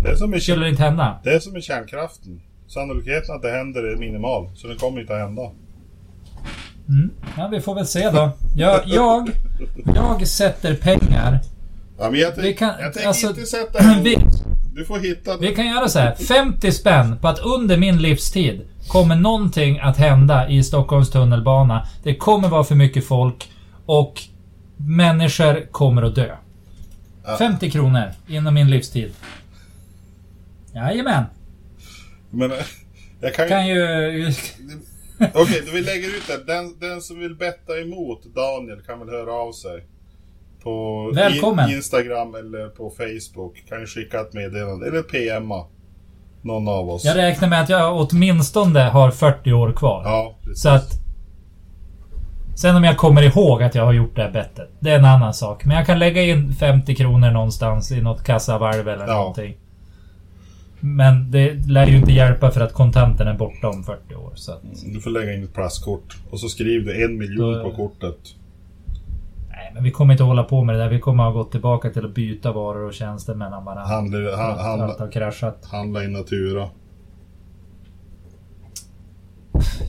B: Det är som med,
C: Skulle
B: kär-
C: det inte hända?
B: det är som med kärnkraften. Sannolikheten att det händer är minimal, så det kommer inte att hända.
C: Ja, vi får väl se då. Jag, jag, jag sätter pengar
B: Ja, men jag, tänk-
C: Vi kan-
B: jag tänker
C: alltså-
B: inte sätta emot.
C: Vi-
B: Du får hitta...
C: Vi kan göra så här. 50 spänn på att under min livstid kommer någonting att hända i Stockholms tunnelbana. Det kommer vara för mycket folk och människor kommer att dö.
B: Ja.
C: 50 kronor inom min livstid. Jajamän.
B: Men, eh, jag kan ju...
C: Kan ju...
B: Okej, då vi lägger ut det. Den, den som vill betta emot Daniel kan väl höra av sig. På i-
C: Välkommen.
B: Instagram eller på Facebook. Kan ju skicka ett meddelande. Eller PMa. Någon av oss.
C: Jag räknar med att jag åtminstone har 40 år kvar.
B: Ja, precis.
C: Så att... Sen om jag kommer ihåg att jag har gjort det här bettet. Det är en annan sak. Men jag kan lägga in 50 kronor någonstans i något kassavalv eller
B: Ja.
C: någonting. Men det lär ju inte hjälpa för att kontanten är borta om 40 år. Så att,
B: Du får lägga in ett plastkort. Och så skriver du en miljon
C: Då-
B: på kortet.
C: nej, men vi kommer inte hålla på med det där. Vi kommer ha gått tillbaka till att byta varor och tjänster mellan varandra.
B: Handla, han,
C: Allt
B: handla,
C: har kraschat.
B: handla i Natura.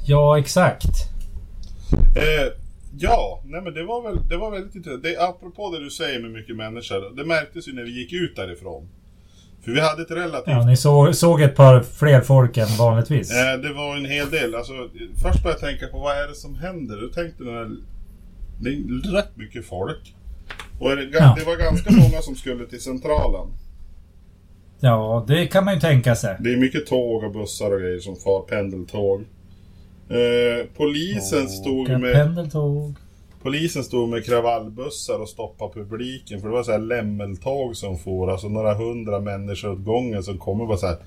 C: Ja, exakt.
B: Eh, ja, nej men det var väl det var väldigt intressant. Det, apropå det du säger med mycket människor. Det märktes ju när vi gick ut därifrån. För vi hade ett relativt
C: Ja, ni såg, såg ett par fler folk än vanligtvis.
B: Eh, det var en hel del. Alltså, eh, först började jag tänka på vad är det som händer? Då tänkte den här, det är rätt mycket folk. Och är det, ga-
C: Ja.
B: det var ganska många som skulle till centralen.
C: Ja, det kan man ju tänka sig.
B: Det är mycket tåg och bussar och grejer som far, pendeltåg. Eh, polisen, stod
C: Åka
B: med,
C: pendeltåg.
B: polisen stod med kravallbussar och stoppade publiken. För det var så här lämmeltåg som for. Alltså några hundra människor åt gången som kommer och bara så här.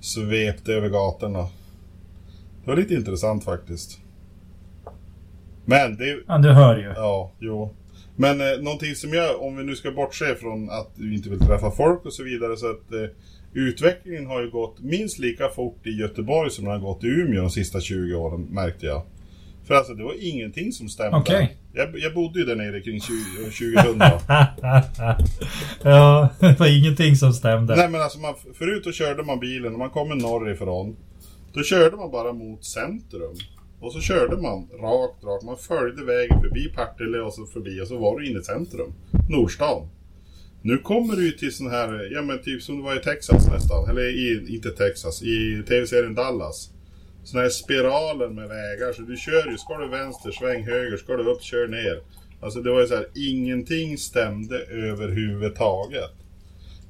B: Svepte över gatorna. Det var lite intressant faktiskt. Men det,
C: Ja, du hör ju.
B: Ja, jo. Men eh, någonting som jag, om vi nu ska bortse från att vi inte vill träffa folk och så vidare, så att eh, utvecklingen har ju gått minst lika fort i Göteborg som den har gått i Umeå de sista 20 åren, märkte jag. För alltså det var ingenting som stämde.
C: Okej.
B: Jag, jag bodde ju där nere kring 20, år 2000.
C: ja, det var ingenting som stämde.
B: Nej men alltså, man, förut då körde man bilen, när man kommer norrifrån, då körde man bara mot centrum. Och så körde man rakt, rakt. Man följde vägen förbi Partille och så förbi och så var du inne i centrum. Nordstan. Nu kommer du ju till sån här, ja men typ som det var i Texas nästan. Eller i, inte Texas, i tv-serien Dallas. Såna här spiraler med vägar. Så du kör ju, ska du vänster, sväng höger. Ska du upp, kör ner. Alltså det var ju så här, ingenting stämde överhuvudtaget.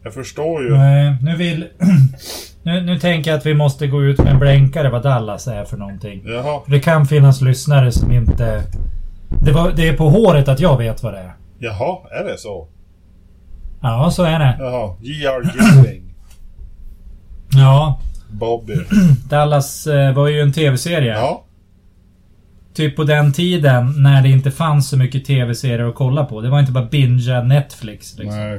B: Jag förstår ju.
C: Nej, Eh, nu vill... nu, nu tänker jag att vi måste gå ut med en blänkare vad Dallas är för någonting.
B: Jaha,
C: För det kan finnas lyssnare som inte... Det, var, det är på håret att jag vet vad det är.
B: jaha, är det så?
C: Ja, så är det.
B: Jaha, J.R. Ewing.
C: Ja,
B: Bobby.
C: Dallas eh, var ju en tv-serie.
B: Ja,
C: Typ på den tiden när det inte fanns så mycket tv-serier att kolla på. Det var inte bara bingea Netflix. Liksom.
B: nej.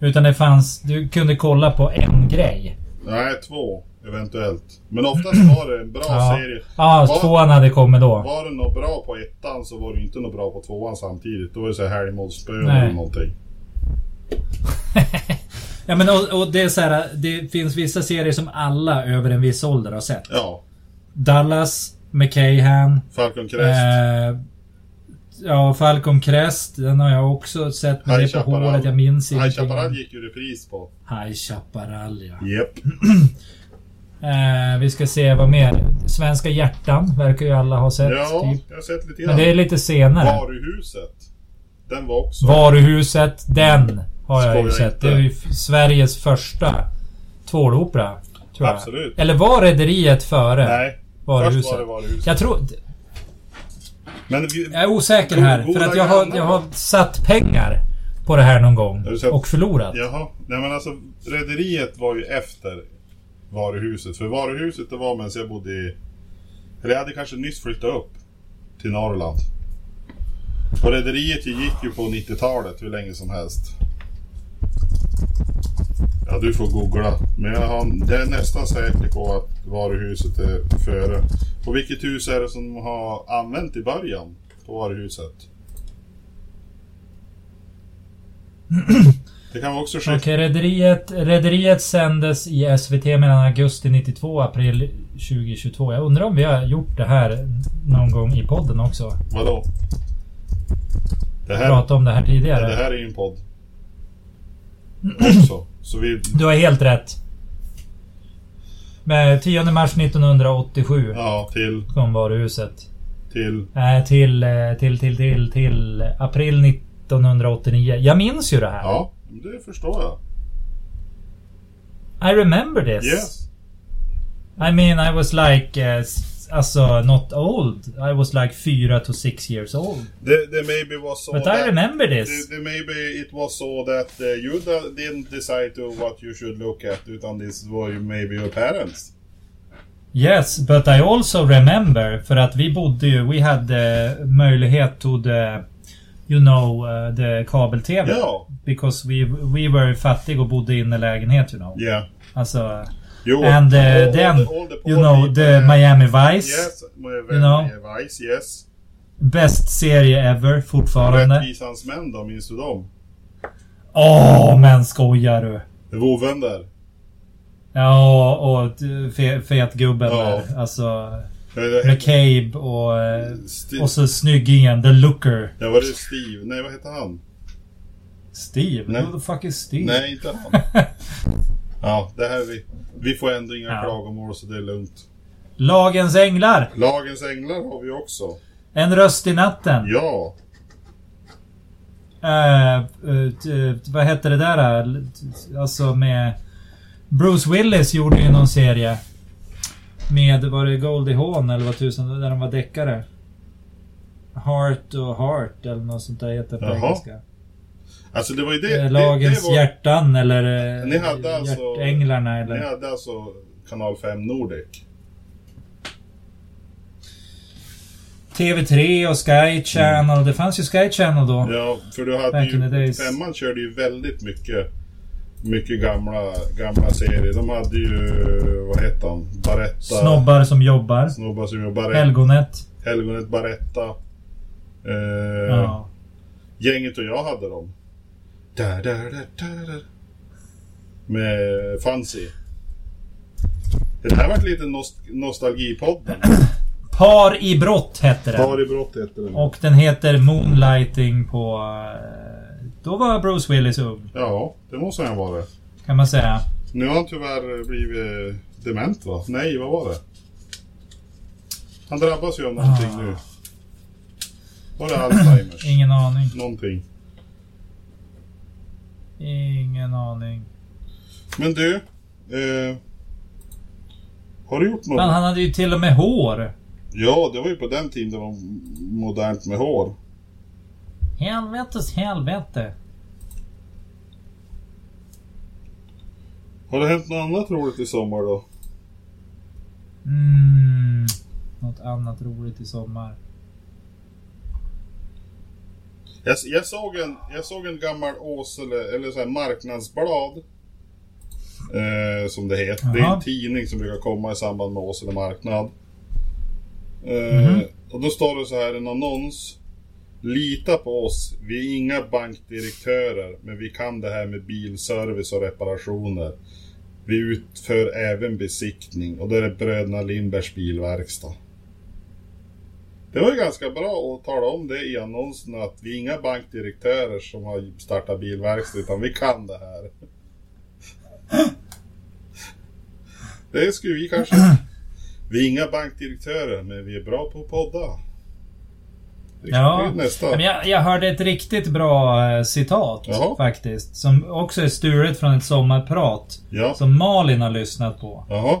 C: Utan det fanns... Du kunde kolla på en grej.
B: Nej, två eventuellt. Men oftast var det en bra
C: Ja,
B: serie.
C: ja
B: Var-
C: tvåan hade kommit då.
B: Var det något bra på ettan så var det inte något bra på tvåan samtidigt. Då var det så här helgmålsspön
C: Nej.
B: eller någonting.
C: Ja, men och, och det är så här, Det finns vissa serier som alla över en viss ålder har sett.
B: Ja,
C: Dallas, McCahan.
B: Falcon Crest.
C: Eh, ja, Falcon Crest. Den har jag också sett. Men
B: High
C: det är på
B: Chaparral.
C: hålet. Jag minns
B: High
C: ingenting.
B: Chaparral gick ju repris på.
C: High Chaparral, ja.
B: Japp.
C: Eh, vi ska se vad mer. Svenska hjärtan verkar ju alla ha sett.
B: Ja,
C: Typ.
B: jag har sett lite
C: Men det är
B: grann.
C: lite senare.
B: Varuhuset. Den var också...
C: Varuhuset, den har jag ju
B: Skojar
C: sett.
B: inte.
C: Det är ju f- Sveriges första tvålopera. Tror jag.
B: Absolut.
C: Eller var Rederiet före
B: Nej,
C: Varuhuset?
B: först var det varuhuset.
C: Jag tror...
B: Men vi...
C: Jag är osäker
B: Go-
C: här. För
B: goda
C: att jag har,
B: grannar.
C: jag har satt pengar på det här någon
B: Har
C: gång.
B: du sett-
C: Och förlorat.
B: Jaha. Nej men alltså, Rederiet var ju efter varuhuset. För varuhuset det var medan jag bodde i... Eller jag hade kanske nyss flyttat upp till Norrland. Och Rederiet gick ju på 90-talet hur länge som helst. Ja, du får googla. Men jag har, det är nästan säker på att varuhuset är före. Och vilket hus är det som har använt i början på varuhuset? Det kan vi också skicka.
C: Okej, rederiet, rederiet sändes i SVT mellan augusti 92 och april 2022. Jag undrar om vi har gjort det här någon gång i podden också?
B: Vadå? Det här,
C: Pratat om det här
B: det
C: tidigare.
B: här är ju en podd. Också. Så vi...
C: Du har helt rätt. Med 10 mars 1987
B: Ja, till,
C: kom varuhuset.
B: till...
C: Nej, till, eh, till, till, till, till april 1989. Jag minns ju det här.
B: Ja, det förstår jag.
C: I remember this.
B: Yes.
C: I mean, I was like... eh, s- Alltså, not old. I was like 4 to 6 years old.
B: The, the maybe was so
C: But I
B: Oh, that...
C: remember this.
B: The, the maybe it was so that uh, you da- didn't decide to what you should look at utan this var ju maybe your parents.
C: Yes, but I also remember för att vi bodde ju, we had eh, möjlighet to the, you know, eh, the kabel-tv.
B: Ja.
C: Because we, we were fattig och bodde i en lägenhet, you know.
B: Yeah.
C: Alltså,
B: Jo.
C: and eh,
B: all- all
C: then,
B: the- all the poor
C: you know,
B: people,
C: the
B: eh,
C: Miami Vice.
B: Yes. My, you
C: know.
B: Vice, yes.
C: Bäst serie ever, fortfarande.
B: Rättvisans män då, minns du dem?
C: Åh, men skojar du?
B: Vovven där.
C: Ja, och eh, fe, fetgubben
B: Ja.
C: där. Alltså,
B: Eh,
C: McCabe och... eh,
B: Sti-
C: Och så snyggingen, the looker.
B: Ja, var det Steve? Nej, vad hette han?
C: Steve?
B: Nej.
C: Who the fuck is Steve?
B: Nej, inte han. Ja, det här vi... Vi får ändå inga
C: Ja.
B: klagomål så det är lugnt.
C: Lagens änglar!
B: Lagens änglar har vi också.
C: En röst i natten.
B: Ja,
C: Eh, eh, t- vad hette det där? eh, t- Alltså med... Bruce Willis gjorde ju någon serie. Med, var det Goldie Hawn eller vad tusan, där de var deckare. Heart och Heart eller något sånt där heter det på
B: Jaha.
C: engelska.
B: alltså det var ju det...
C: Eh,
B: det-
C: Lagens
B: det var,
C: hjärtan eller... eh,
B: Ni hade alltså-
C: Hjärtänglarna eller...
B: Ni hade alltså kanal 5 Nordic.
C: TV3 och Sky Channel. Det fanns ju Sky Channel då.
B: Ja, för du hade
C: Back in the
B: ju...
C: days.
B: Femman körde ju väldigt mycket... Mycket gamla, gamla serier. De hade ju... Vad hette han? Baretta.
C: Snobbar som jobbar.
B: Snobbar som jobbar. Helg-
C: Helgonet.
B: Helgonet Baretta. Eh,
C: Ja.
B: Gänget och jag hade dem. Där, där, där, där, där. Med Fancy. Det här varit lite nost- nostalgipodden.
C: Par i brott hette den.
B: Par i brott heter den.
C: Och den heter Moonlighting på... eh, Då var Bruce Willis ung,
B: Ja, det måste han vara.
C: kan man säga.
B: Nu har han tyvärr blivit dement va? Nej, vad var det? Han drabbas ju av någonting
C: Ah.
B: nu. Var det Alzheimers?
C: Ingen aning.
B: någonting.
C: Ingen aning.
B: Men du. Eh, har du gjort något?
C: Men han hade ju till och med hår.
B: Ja, det var ju på den tiden det var modernt med hår.
C: Helvetes helvete.
B: Har det hänt något annat roligt i sommar då?
C: Mm. Något annat roligt i sommar.
B: Jag, jag, såg, en, jag såg en gammal Åsele, eller så här marknadsblad. Eh, som det heter. Det är
C: Jaha.
B: en tidning som brukar komma i samband med Åsele marknad. Eh,
C: Mhm.
B: Och då står det så här en annons. Lita på oss, vi är inga bankdirektörer, men vi kan det här med bilservice och reparationer. Vi utför även besiktning och det är Bröderna Lindbergs bilverkstad. Det var ju ganska bra att tala om det i annonsen att vi är inga bankdirektörer som har startat bilverkstad utan vi kan det här. Det skulle vi kanske... Vi är inga bankdirektörer men vi är bra på att podda. Det är
C: Ja.
B: nästa.
C: Men jag, jag hörde ett riktigt bra eh, citat
B: Jaha.
C: faktiskt. Som också är stulet från ett sommarprat.
B: Ja.
C: Som Malin har lyssnat på.
B: Jaha.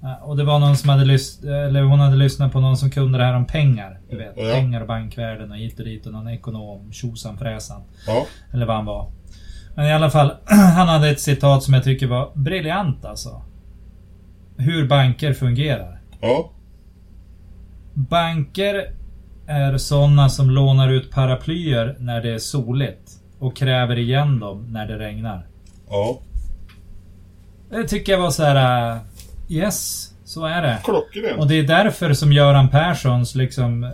C: Ja, Och det var någon som hade lyssnat, eller hon hade lyssnat på någon som kunde det här om pengar. Du vet,
B: Ja.
C: pengar och bankvärden och hit och dit och någon ekonom, tjosan fräsan.
B: Ja.
C: Eller vad han var. Men i alla fall, han hade ett citat som jag tycker var briljant alltså. Hur banker fungerar.
B: Ja.
C: Banker är sådana som lånar ut paraplyer när det är soligt. Och kräver igen dem när det regnar.
B: Ja.
C: Det tycker jag var så här. äh, Yes, så är det. Och
B: Klockrent.
C: det är därför som Göran Perssons liksom eh,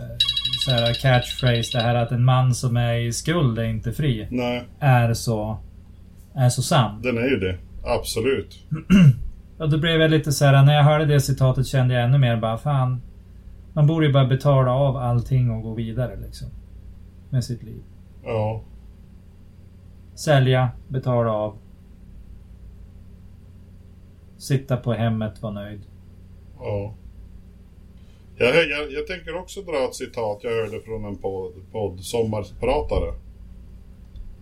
C: så här catchphrase, det här att en man som är i skuld är inte fri,
B: Nej,
C: är så, är så sann.
B: den är ju det. Absolut.
C: Och då blev jag lite så här, äh, när jag hörde det citatet kände jag ännu mer bara fan. Man borde ju bara betala av allting och gå vidare liksom. Med sitt liv.
B: Ja.
C: Sälja, betala av. Sitta på hemmet, vara nöjd.
B: Ja. Jag, jag, jag tänker också dra ett citat jag hörde från en podd, podd sommarpratare.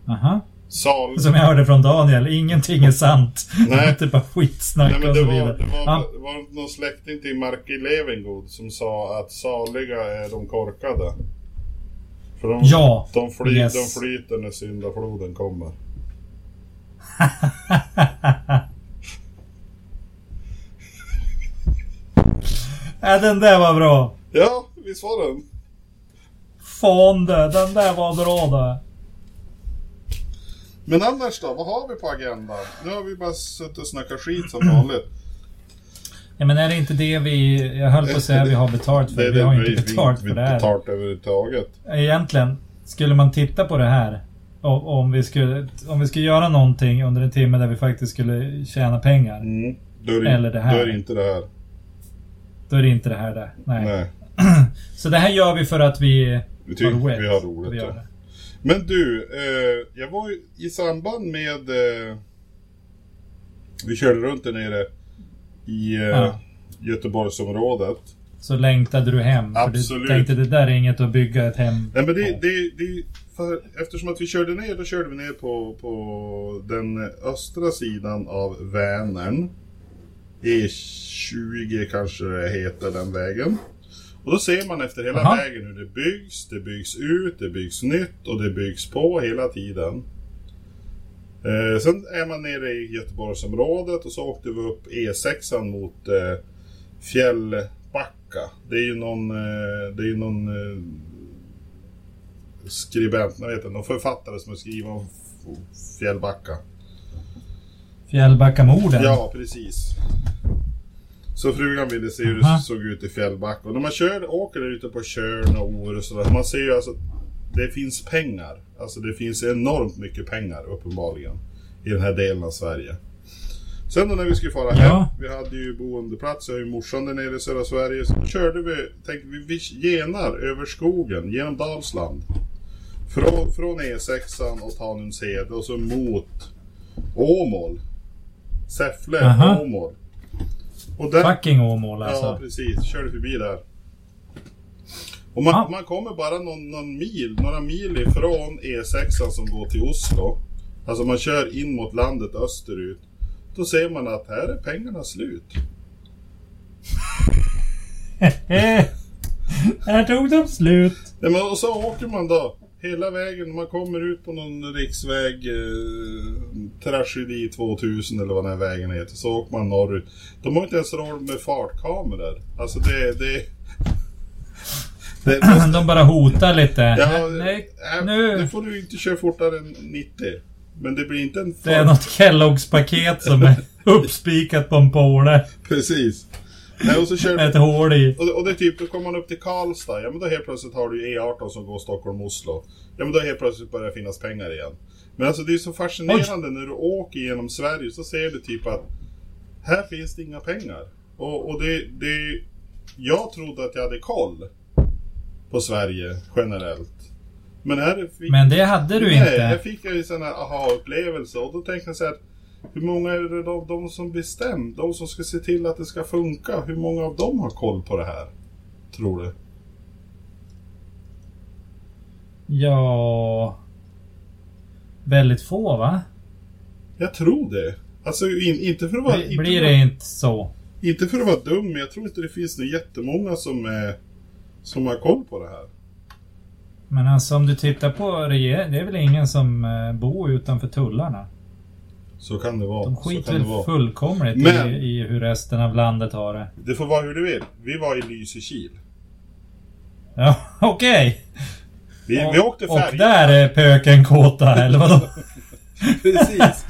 C: Aha.
B: Sal...
C: Som jag hörde från Daniel, ingenting är sant.
B: Nej.
C: det är typ bara skitsnack
B: Nej, men
C: och
B: det
C: Alltså, så
B: var, det
C: vidare.
B: var,
C: ja.
B: det var någon släkting till Marki Levengood som sa att saliga är de korkade. För de,
C: Ja,
B: de, fly,
C: yes.
B: de flyter när syndafloden kommer.
C: ja, den där var bra.
B: Ja, visst var den?
C: Fan du, den där var bra du.
B: Men annars då, vad har vi på agendan? Nu har vi bara suttit och snackat skit som
C: Mm.
B: vanligt.
C: Ja, men är det inte det vi... Jag höll på att säga vi har betalt för. Vi har ju inte betalt
B: vi,
C: för
B: vi
C: det här.
B: betalt överhuvudtaget.
C: Egentligen, skulle man titta på det här. o- Om vi, skulle, om vi skulle göra någonting under en timme där vi faktiskt skulle tjäna pengar.
B: Mm. Då är det,
C: Eller det här.
B: Då är det inte det här.
C: Då är det inte det här det. Nej.
B: Nej.
C: Så det här gör vi för att vi
B: Vi tycker
C: roligt.
B: vi har roligt.
C: Vi gör
B: ja.
C: det.
B: Men du, eh, jag var ju i samband med... Eh, vi körde runt där nere i eh,
C: Ja.
B: Göteborgsområdet.
C: Så längtade du hem. För du
B: Absolut.
C: tänkte det där är inget att bygga ett hem
B: Nej men det,
C: på.
B: det, det för, eftersom att vi körde ner, då körde vi ner på, på den östra sidan av Vänern. E20 kanske det heter den vägen. Och då ser man efter hela
C: Aha.
B: vägen hur det byggs, det byggs ut, det byggs nytt och det byggs på hela tiden. Eh, sen är man nere i Göteborgsområdet och så åkte vi upp E6 mot eh, Fjällbacka. Det är ju någon, eh, det är ju någon eh, skribent, jag vet inte, någon författare som har skrivit om F- Fjällbacka.
C: Fjällbackamorden.
B: Ja, precis. Så frugan ville se hur
C: Aha.
B: det såg ut i Fjällbacka. Och när man kör, åker där ute på Tjörn och Ore och sådär, man ser ju alltså det finns pengar. Alltså det finns enormt mycket pengar uppenbarligen i den här delen av Sverige. Sen då när vi skulle fara
C: Ja.
B: hem, vi hade ju boendeplats, jag har ju morsan där nere i södra Sverige. Så då körde vi, tänkte vi, vi genar över skogen, genom Dalsland. Från, från E6 och Tanumshed och så mot Åmål. Säffle,
C: Aha.
B: Åmål. Och där,
C: Fucking Åmål alltså.
B: Ja, precis. Körde förbi där. Och man,
C: Ja.
B: man kommer bara någon, någon mil, några mil ifrån E6 som går till Oslo. Alltså man kör in mot landet österut. Då ser man att här är pengarna slut.
C: Eh, Här tog de slut.
B: Nej, men, och så åker man då hela vägen. Man kommer ut på någon riksväg, eh, Tragedi 2000 eller vad den här vägen heter. Så åker man norrut. De har inte ens råd med fartkameror. Alltså det... det, det, det
C: De bara hotar lite.
B: Ja,
C: Nej,
B: äh,
C: nu.
B: nu får du inte köra fortare än 90. Men det blir inte en
C: det är
B: fart-
C: något Kelloggs-paket som är uppspikat på en påle
B: Precis. Nej, och så kör
C: med ett hål i.
B: Och, och det är typ, då kommer man upp till Karlstad. Ja men då helt plötsligt har du ju E18 som går Stockholm-Oslo. Ja men då helt plötsligt börjar det finnas pengar igen. Men alltså det är så fascinerande när du åker genom Sverige så ser du typ att här finns det inga pengar. Och, och det, det... Jag trodde att jag hade koll på Sverige generellt. Men här fick
C: Men det hade du
B: Nej,
C: inte.
B: jag fick ju sån här aha-upplevelse och då tänkte jag så här. Hur många är det av de som bestämt, de som ska se till att det ska funka, hur många av dem har koll på det här? Tror du?
C: Ja... Väldigt få va?
B: Jag tror det. Alltså in, inte, för att vara,
C: Bli-
B: inte,
C: Blir
B: för
C: det
B: att,
C: inte så?
B: inte för att vara dum, men jag tror inte det finns några jättemånga som, är, som har koll på det här.
C: Men alltså om du tittar på regeringen, det är väl ingen som eh, bor utanför tullarna?
B: Så kan det vara.
C: De
B: så
C: skiter
B: kan det
C: väl
B: vara.
C: fullkomligt
B: Men-
C: i, i hur resten av landet har det.
B: Det får vara hur du vill. Vi var i Lysekil.
C: Ja, okej!
B: Vi, vi åkte
C: Och, och
B: färja.
C: där är pöken kåta, eller vadå?
B: Precis.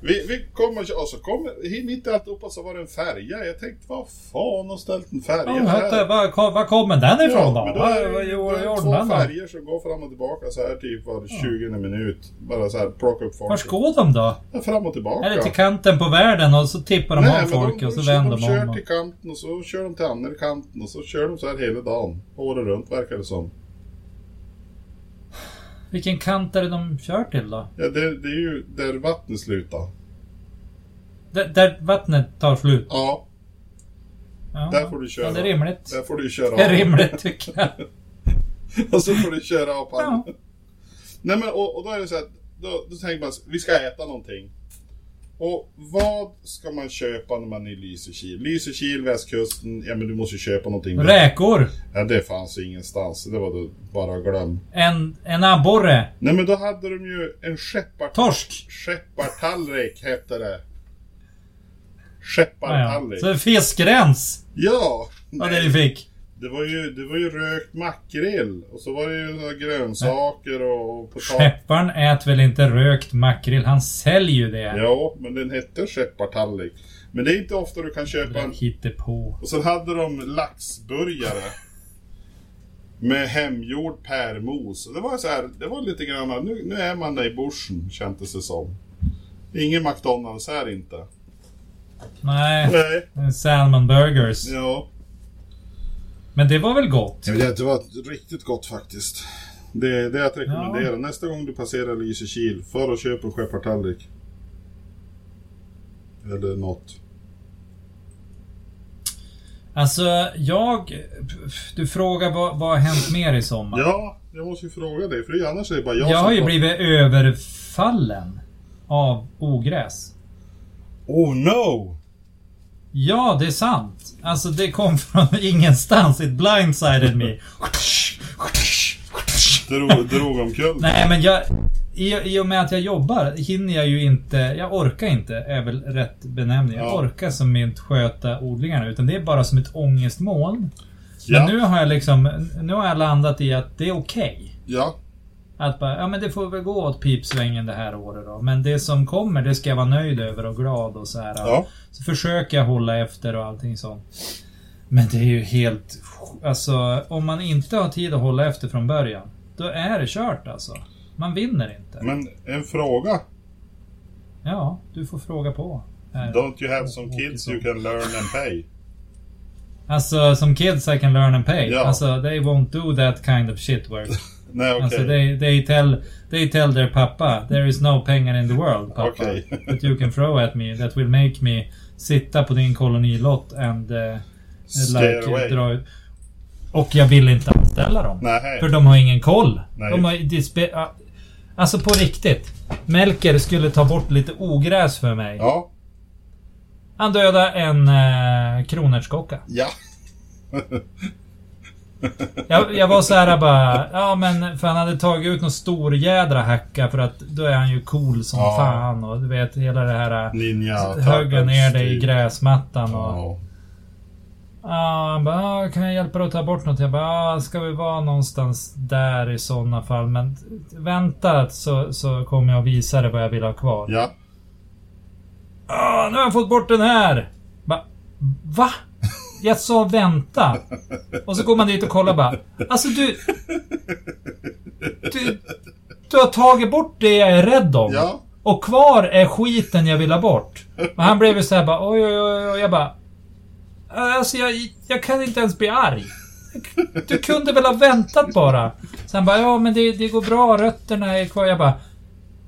B: Vi, vi kommer och så kommer, mitt i alltihopa så var det en färja. Jag tänkte, vad fan har ställt en färja
C: Ja, hette, var, kom, var kommer den
B: men
C: ifrån då?
B: då är
C: Vad
B: det
C: vad
B: ju
C: gjorde
B: bara
C: gjorde
B: två
C: den då?
B: färger som går fram och tillbaka så här typ var 20 minut. Bara så här, plocka upp folk.
C: Var ska de då?
B: Ja, fram och tillbaka.
C: Är det till kanten på världen och så tippar de
B: Nej,
C: av
B: men
C: folk och så
B: de
C: vänder
B: de
C: de
B: kör
C: om? Och...
B: till kanten och så kör de till andra kanten och så kör de så här hela dagen. Året runt verkar det som.
C: Vilken kant är det de kör till då?
B: Ja, det, det är ju där vattnet slutar.
C: Där, där vattnet tar slut?
B: Ja,
C: Ja,
B: där får du köra.
C: Ja, det är rimligt.
B: där får du köra
C: Det är
B: av.
C: rimligt tycker jag.
B: Och så får du köra av på
C: Ja.
B: Nej men och, och då är det så här, då, då tänker man så- vi ska äta någonting. Och vad ska man köpa när man är i Lysekil? Lysekil, västkusten, ja men du måste ju köpa någonting. där.
C: Räkor!
B: Ja, det fanns ju ingenstans, det var då bara glöm.
C: En, en abborre!
B: Nej men då hade de ju en skeppart...
C: Torsk!
B: skeppartallrik hette det.
C: Ja, ja.
B: Skeppartallrik.
C: Så fiskgräns!
B: Ja!
C: var
B: nej.
C: det vi fick.
B: Det var ju, det var ju rökt makrill och så var det ju så här grönsaker och, och potatis.
C: Skepparen äter väl inte rökt makrill? Han säljer ju det.
B: Ja, men den hette skeppartallrik. Men det är inte ofta du kan
C: Det
B: köpa
C: där
B: en...
C: hittepå.
B: Och sen hade de laxburgare. Med hemgjord pärmos. Och Det var så här, det var lite grann, nu, nu är man där i bushen kändes det som. Ingen McDonalds här inte.
C: Nej,
B: Nej.
C: det är salmon burgers.
B: Ja.
C: Men det var väl gott?
B: Jag vet, det var riktigt gott faktiskt. Det, det är att rekommendera. Nästa gång du passerar Lysekil, för och köp en skeppartallrik. Eller något.
C: Alltså, jag... Du frågar vad, vad har hänt mer i sommar?
B: Ja, jag måste ju fråga dig, för annars är det bara jag,
C: jag
B: som
C: har ju
B: pratar.
C: blivit överfallen av ogräs.
B: Oh no!
C: Ja, det är sant. Alltså, det kom från ingenstans. It blindsided me.
B: Drog, drog omkull.
C: Nej, men jag... I, I och med att jag jobbar hinner jag ju inte... Jag orkar inte, är väl rätt benämning. Jag
B: Ja.
C: orkar som inte sköta odlingarna, utan det är bara som ett ångestmoln.
B: Ja,
C: Men nu har jag liksom... Nu har jag landat i att det är okej.
B: ja,
C: Att bara, ja men det får väl gå åt pipsvängen det här året då. Men det som kommer, det ska jag vara nöjd över och glad och så här.
B: ja.
C: Så försöker jag hålla efter och allting sånt. Men det är ju helt... Alltså, om man inte har tid att hålla efter från början, då är det kört alltså. Man vinner inte.
B: Men en fråga.
C: Ja, du får fråga på. Nej.
B: Don't you have some kids you can learn and pay?
C: Alltså som kids I can learn and pay.
B: Ja.
C: Alltså they won't do that kind of shit work.
B: Nej, okej.
C: Alltså they, they, tell, they tell their pappa there is no pengar in the world pappa.
B: Okej.
C: That you can throw at me that will make me sitta på din kolonilott and uh,
B: Stay away.
C: dra ut. Och jag vill inte anställa dem.
B: Nej.
C: För de har ingen koll.
B: Nej.
C: De har, det spe, ah, alltså på riktigt. Melker skulle ta bort lite ogräs för mig.
B: Ja.
C: Han dödade en eh, kronärtskocka.
B: Ja.
C: Jag, jag var så här bara, ja men för han hade tagit ut någon stor jädra hacka för att då är han ju cool som
B: Ja.
C: fan och du vet hela det här
B: Ninja.
C: ja, höga ner dig i gräsmattan och... Ja.
B: Ja.
C: han bara, ah, kan jag hjälpa dig att ta bort något? Jag bara, ah, ska vi vara någonstans där i sådana fall men vänta så, så kommer jag visa dig vad jag vill ha kvar.
B: ja.
C: Ah, nu har jag fått bort den här! Bara, va? Jag sa vänta. Och så går man dit och kollar bara. Alltså du... Du, du har tagit bort det jag är rädd om.
B: Ja.
C: Och kvar är skiten jag vill ha bort. Men han blev ju såhär bara oj, oj, oj, oj. Jag bara... Alltså jag, jag kan inte ens bli arg. Du kunde väl ha väntat bara? Så han bara ja men det, det går bra, rötterna är kvar. Jag bara...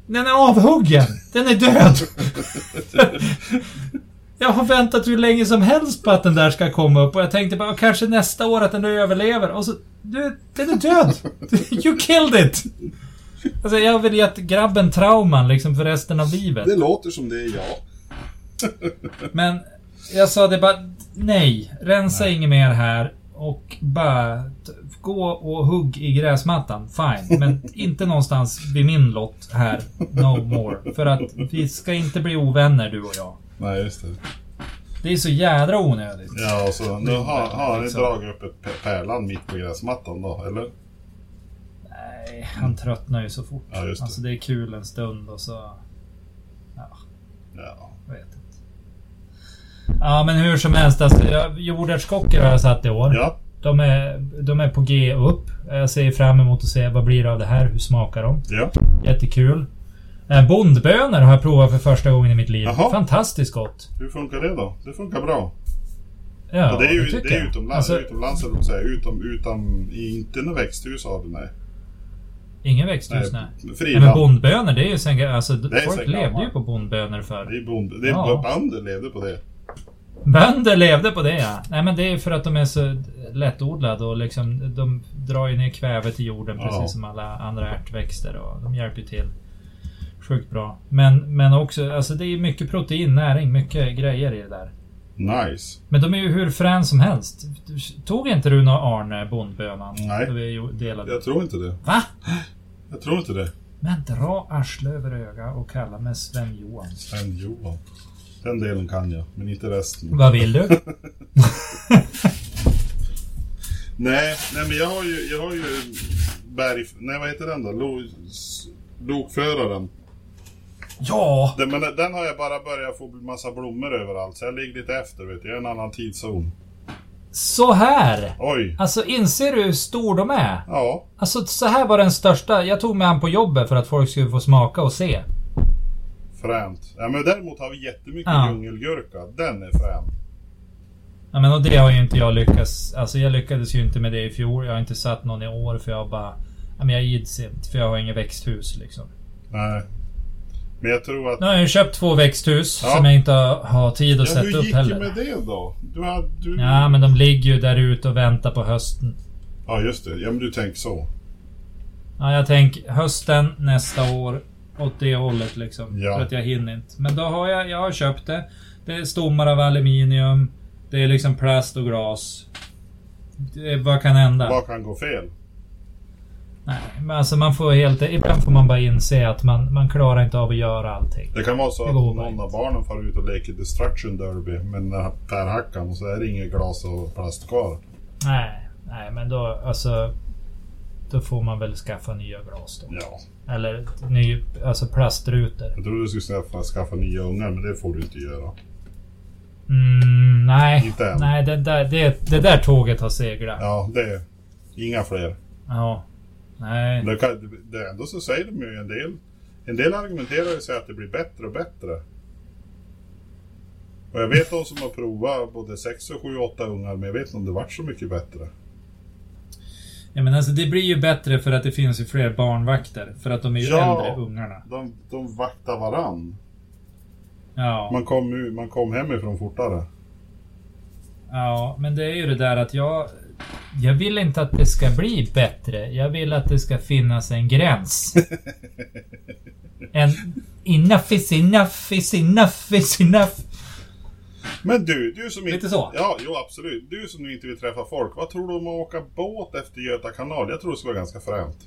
C: Den är avhuggen! Den är död! jag har väntat hur länge som helst på att den där ska komma upp och jag tänkte bara kanske nästa år att den överlever och så... Du, den är död! You killed it! Alltså jag vill gett grabben trauman liksom för resten av livet.
B: Det låter som det är jag.
C: Men jag sa det bara, nej. Rensa inget mer här. Och bara t- gå och hugg i gräsmattan. Fine. Men inte någonstans vid min lott här. No more. För att vi ska inte bli ovänner du och jag.
B: Nej, just det.
C: Det är så jädra onödigt.
B: Ja, och så nu har, har ni
C: Liksom.
B: dragit upp ett pär- pärlan mitt på gräsmattan då, eller?
C: Nej, han tröttnar ju så fort.
B: Ja, just det.
C: Alltså det är kul en stund och så...
B: Ja.
C: Jag vet inte. Ja, men hur som helst. Alltså, jag- jordärtskockor har jag satt i år.
B: Ja.
C: De är, de är på G upp. Jag ser fram emot att se vad blir det av det här. Hur smakar de?
B: Ja.
C: Jättekul. Eh, Bondbönor har jag provat för första gången i mitt liv.
B: Jaha.
C: Fantastiskt gott.
B: Hur funkar det då? Det funkar bra.
C: Ja,
B: Ja, det är ju
C: tycker
B: det är
C: jag.
B: utomlands,
C: Alltså,
B: utomlands eller säga. Utom, utan, inte något växthus har du, nej.
C: ingen växthus, nej. nej. Men
B: Friland.
C: bondbönor, det är ju sen... ga- Alltså,
B: Det är
C: folk
B: sen
C: levde ju
B: gammalt.
C: på bondbönor förr.
B: det är bond, det är
C: Ja.
B: bönder levde på det.
C: Bönder levde på det, ja. Nej, men det är för att de är så lättodlade och liksom... De drar ju ner kvävet i jorden
B: Ja.
C: precis som alla andra ärtväxter och de hjälper ju till. Sjukt bra. Men, men också, alltså det är mycket protein, näring, mycket grejer i det där.
B: Nice.
C: Men de är ju hur frän som helst. Tog inte du någon Arne bondbönan?
B: Nej.
C: Då vi ju delade.
B: Jag tror inte det.
C: Va?
B: Jag tror inte det.
C: Men dra arsle över öga och kalla mig Sven Johan.
B: Sven Johan. Den delen kan jag, men inte resten.
C: Vad vill du?
B: Nej, nej men jag har ju, jag har ju berg... Nej, vad heter den då? Lo, s- lokföraren.
C: ja!
B: Den, men den har jag bara börjat få massa blommor överallt, så jag ligger lite efter vet du. Jag är en annan tidszon.
C: Så här!
B: Oj!
C: Alltså inser du hur stor de är?
B: Ja,
C: Alltså så här var den största. Jag tog med han på jobbet för att folk skulle få smaka och se.
B: fränt. Ja, men däremot har vi jättemycket
C: Ja.
B: djungelgurka. Den är frän.
C: Ja men och det har ju inte jag lyckats. Alltså jag lyckades ju inte med det i fjol. Jag har inte satt någon i år för jag bara... Ja men jag ids inte för jag har inget växthus liksom.
B: Nej. Men jag tror att...
C: Nu har jag ju köpt två växthus
B: Ja.
C: som jag inte har tid att
B: Ja,
C: sätta
B: hur
C: upp
B: gick
C: heller.
B: det med det då? Du hade... Du...
C: Ja, men de ligger ju där ute och väntar på hösten.
B: ja, just det. Ja, men du tänker så.
C: Ja, jag tänker hösten nästa år. Åt det hållet liksom.
B: Ja.
C: För att jag hinner inte. Men då har jag, jag har köpt det. Det är stommar av aluminium. Det är liksom plast och glas. Det, vad kan hända?
B: Vad kan gå fel?
C: Nej, men alltså man får helt... Ibland får man bara inse att man, man klarar inte av att göra allting.
B: Det kan vara så
C: Det
B: att
C: går
B: någon
C: bara
B: av barnen far ut och leker Destruction Derby med pärhackan och så är det inget glas och plast kvar.
C: Nej, nej men då alltså... Då får man väl skaffa nya glas då.
B: Ja.
C: Eller ny, alltså plastrutor.
B: Jag trodde du skulle skaffa, skaffa nya ungar, men det får du inte göra.
C: Mm, nej,
B: Inte än.
C: nej det, där, det, det där tåget har seglat. Ja.
B: Ja, det... Inga fler.
C: Nej.
B: Det kan, det, ändå så säger de ju en del. En del argumenterar ju så att det blir bättre och bättre. Och jag vet de som har provat både 6 och 7 8 ungar, men jag vet inte om det vart så mycket bättre.
C: Ja, men alltså det blir ju bättre för att det finns ju fler barnvakter. För att de är ju
B: Ja.
C: äldre, ungarna.
B: De, de vaktar varann.
C: Ja.
B: Man kom, ju- man kom hemifrån fortare.
C: ja, men det är ju det där att jag... Jag vill inte att det ska bli bättre. Jag vill att det ska finnas en gräns. En enough is enough is enough is enough.
B: Men du, du som inte...
C: Lite så.
B: Ja, jo absolut. Du som nu inte vill träffa folk. Vad tror du om att åka båt efter Göta kanal? Jag tror det skulle vara ganska fränt.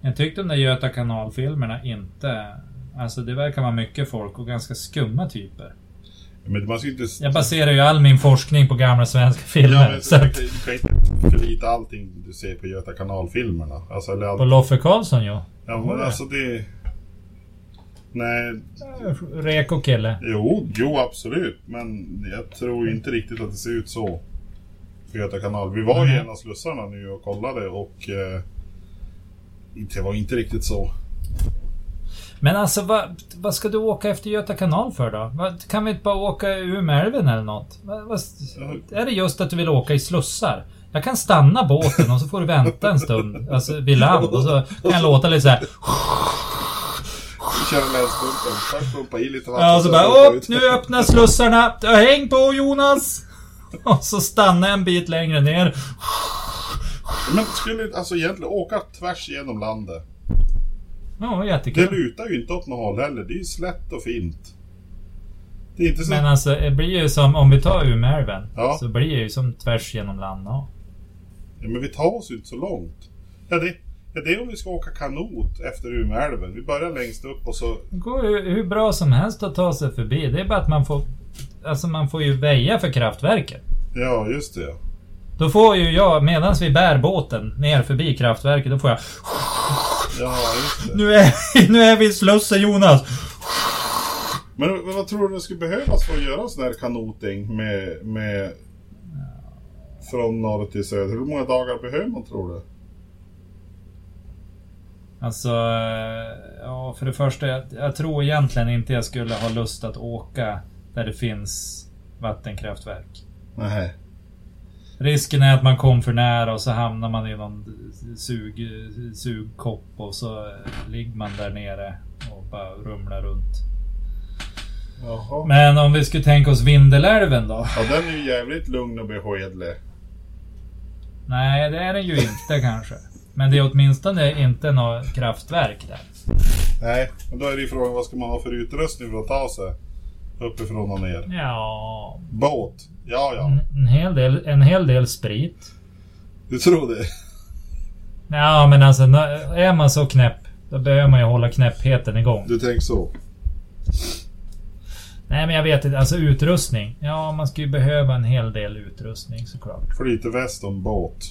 C: Jag tyckte de där Göta kanalfilmerna inte... Alltså det verkar vara mycket folk och ganska skumma typer.
B: Men man ska ju inte...
C: Jag baserar ju all min forskning på gamla svenska filmer.
B: men
C: så
B: du,
C: att,
B: kan- du kan inte förlita allting du ser på Göta kanal-filmerna. Alltså, eller
C: på
B: all...
C: Loffe Karlsson ju.
B: Ja, men alltså det... Nej,
C: Reko kille.
B: jo, jo absolut. Men jag tror ju inte riktigt att det ser ut så. På Göta kanal. Vi var ju i
C: Mhm.
B: en av slussarna nu och kollade och... Eh, det var inte riktigt så.
C: Men alltså vad, vad ska du åka efter Göta kanal för då? Vad- kan vi inte bara åka i Umeälven eller något? Vad, vad, är det just att du vill åka i slussar? Jag kan stanna båten och så får du vänta en stund. Alltså vid land. Och så kan jag låta lite såhär.
B: Köra länsbumpen. Först pumpa i lite vatten.
C: Ja, och så
B: sen
C: bara
B: pumpa
C: upp,
B: ut.
C: nu öppnas slussarna. Häng på Jonas! Och så stannar jag en bit längre ner.
B: Men skulle alltså egentligen åka tvärs igenom landet.
C: Ja,
B: Det
C: jättekul.
B: lutar ju inte åt något håll heller. Det är ju slätt och fint. Det är inte så...
C: Men alltså, det blir ju som, om vi tar Umeälven.
B: Ja.
C: Så blir det ju som tvärs genom Lanna.
B: Ja, men vi tar oss ju inte så långt. Ja, det, ja, det är om vi ska åka kanot efter Umeälven. Vi börjar längst upp och så...
C: Det går ju hur bra som helst att ta sig förbi. Det är bara att man får... Alltså man får ju väja för kraftverket.
B: Ja, just det. ja.
C: Då får ju jag, medan vi bär båten ner förbi kraftverket, då får jag...
B: Ja, just det.
C: Nu är, nu är vi i Slussen Jonas!
B: Men, men vad tror du det skulle behövas för att göra en sån här kanoting med... med från norr till söder? Hur många dagar behöver man tror du?
C: Alltså, eh, ja för det första, jag, jag tror egentligen inte jag skulle ha lust att åka där det finns vattenkraftverk.
B: Nej.
C: Risken är att man kom för nära och så hamnar man i någon sug, sugkopp och så eh, ligger man där nere och bara rumlar runt.
B: Jaha.
C: Men om vi skulle tänka oss Vindelälven då?
B: Ja, den är ju jävligt lugn och beskedlig.
C: Nej, det är den ju inte kanske. Men det är åtminstone inte något kraftverk där.
B: Nej, men då är det ju frågan vad ska man ha för utrustning för att ta sig uppifrån och ner?
C: Ja,
B: Båt? Ja, ja.
C: en, en, hel, del, en hel del sprit.
B: Du tror det?
C: Ja, men alltså nå- är man så knäpp, då behöver man ju hålla knäppheten igång.
B: Du tänker så?
C: Nej, men jag vet inte. Alltså utrustning. Ja, man ska ju behöva en hel del utrustning såklart.
B: Flyteväst och en båt.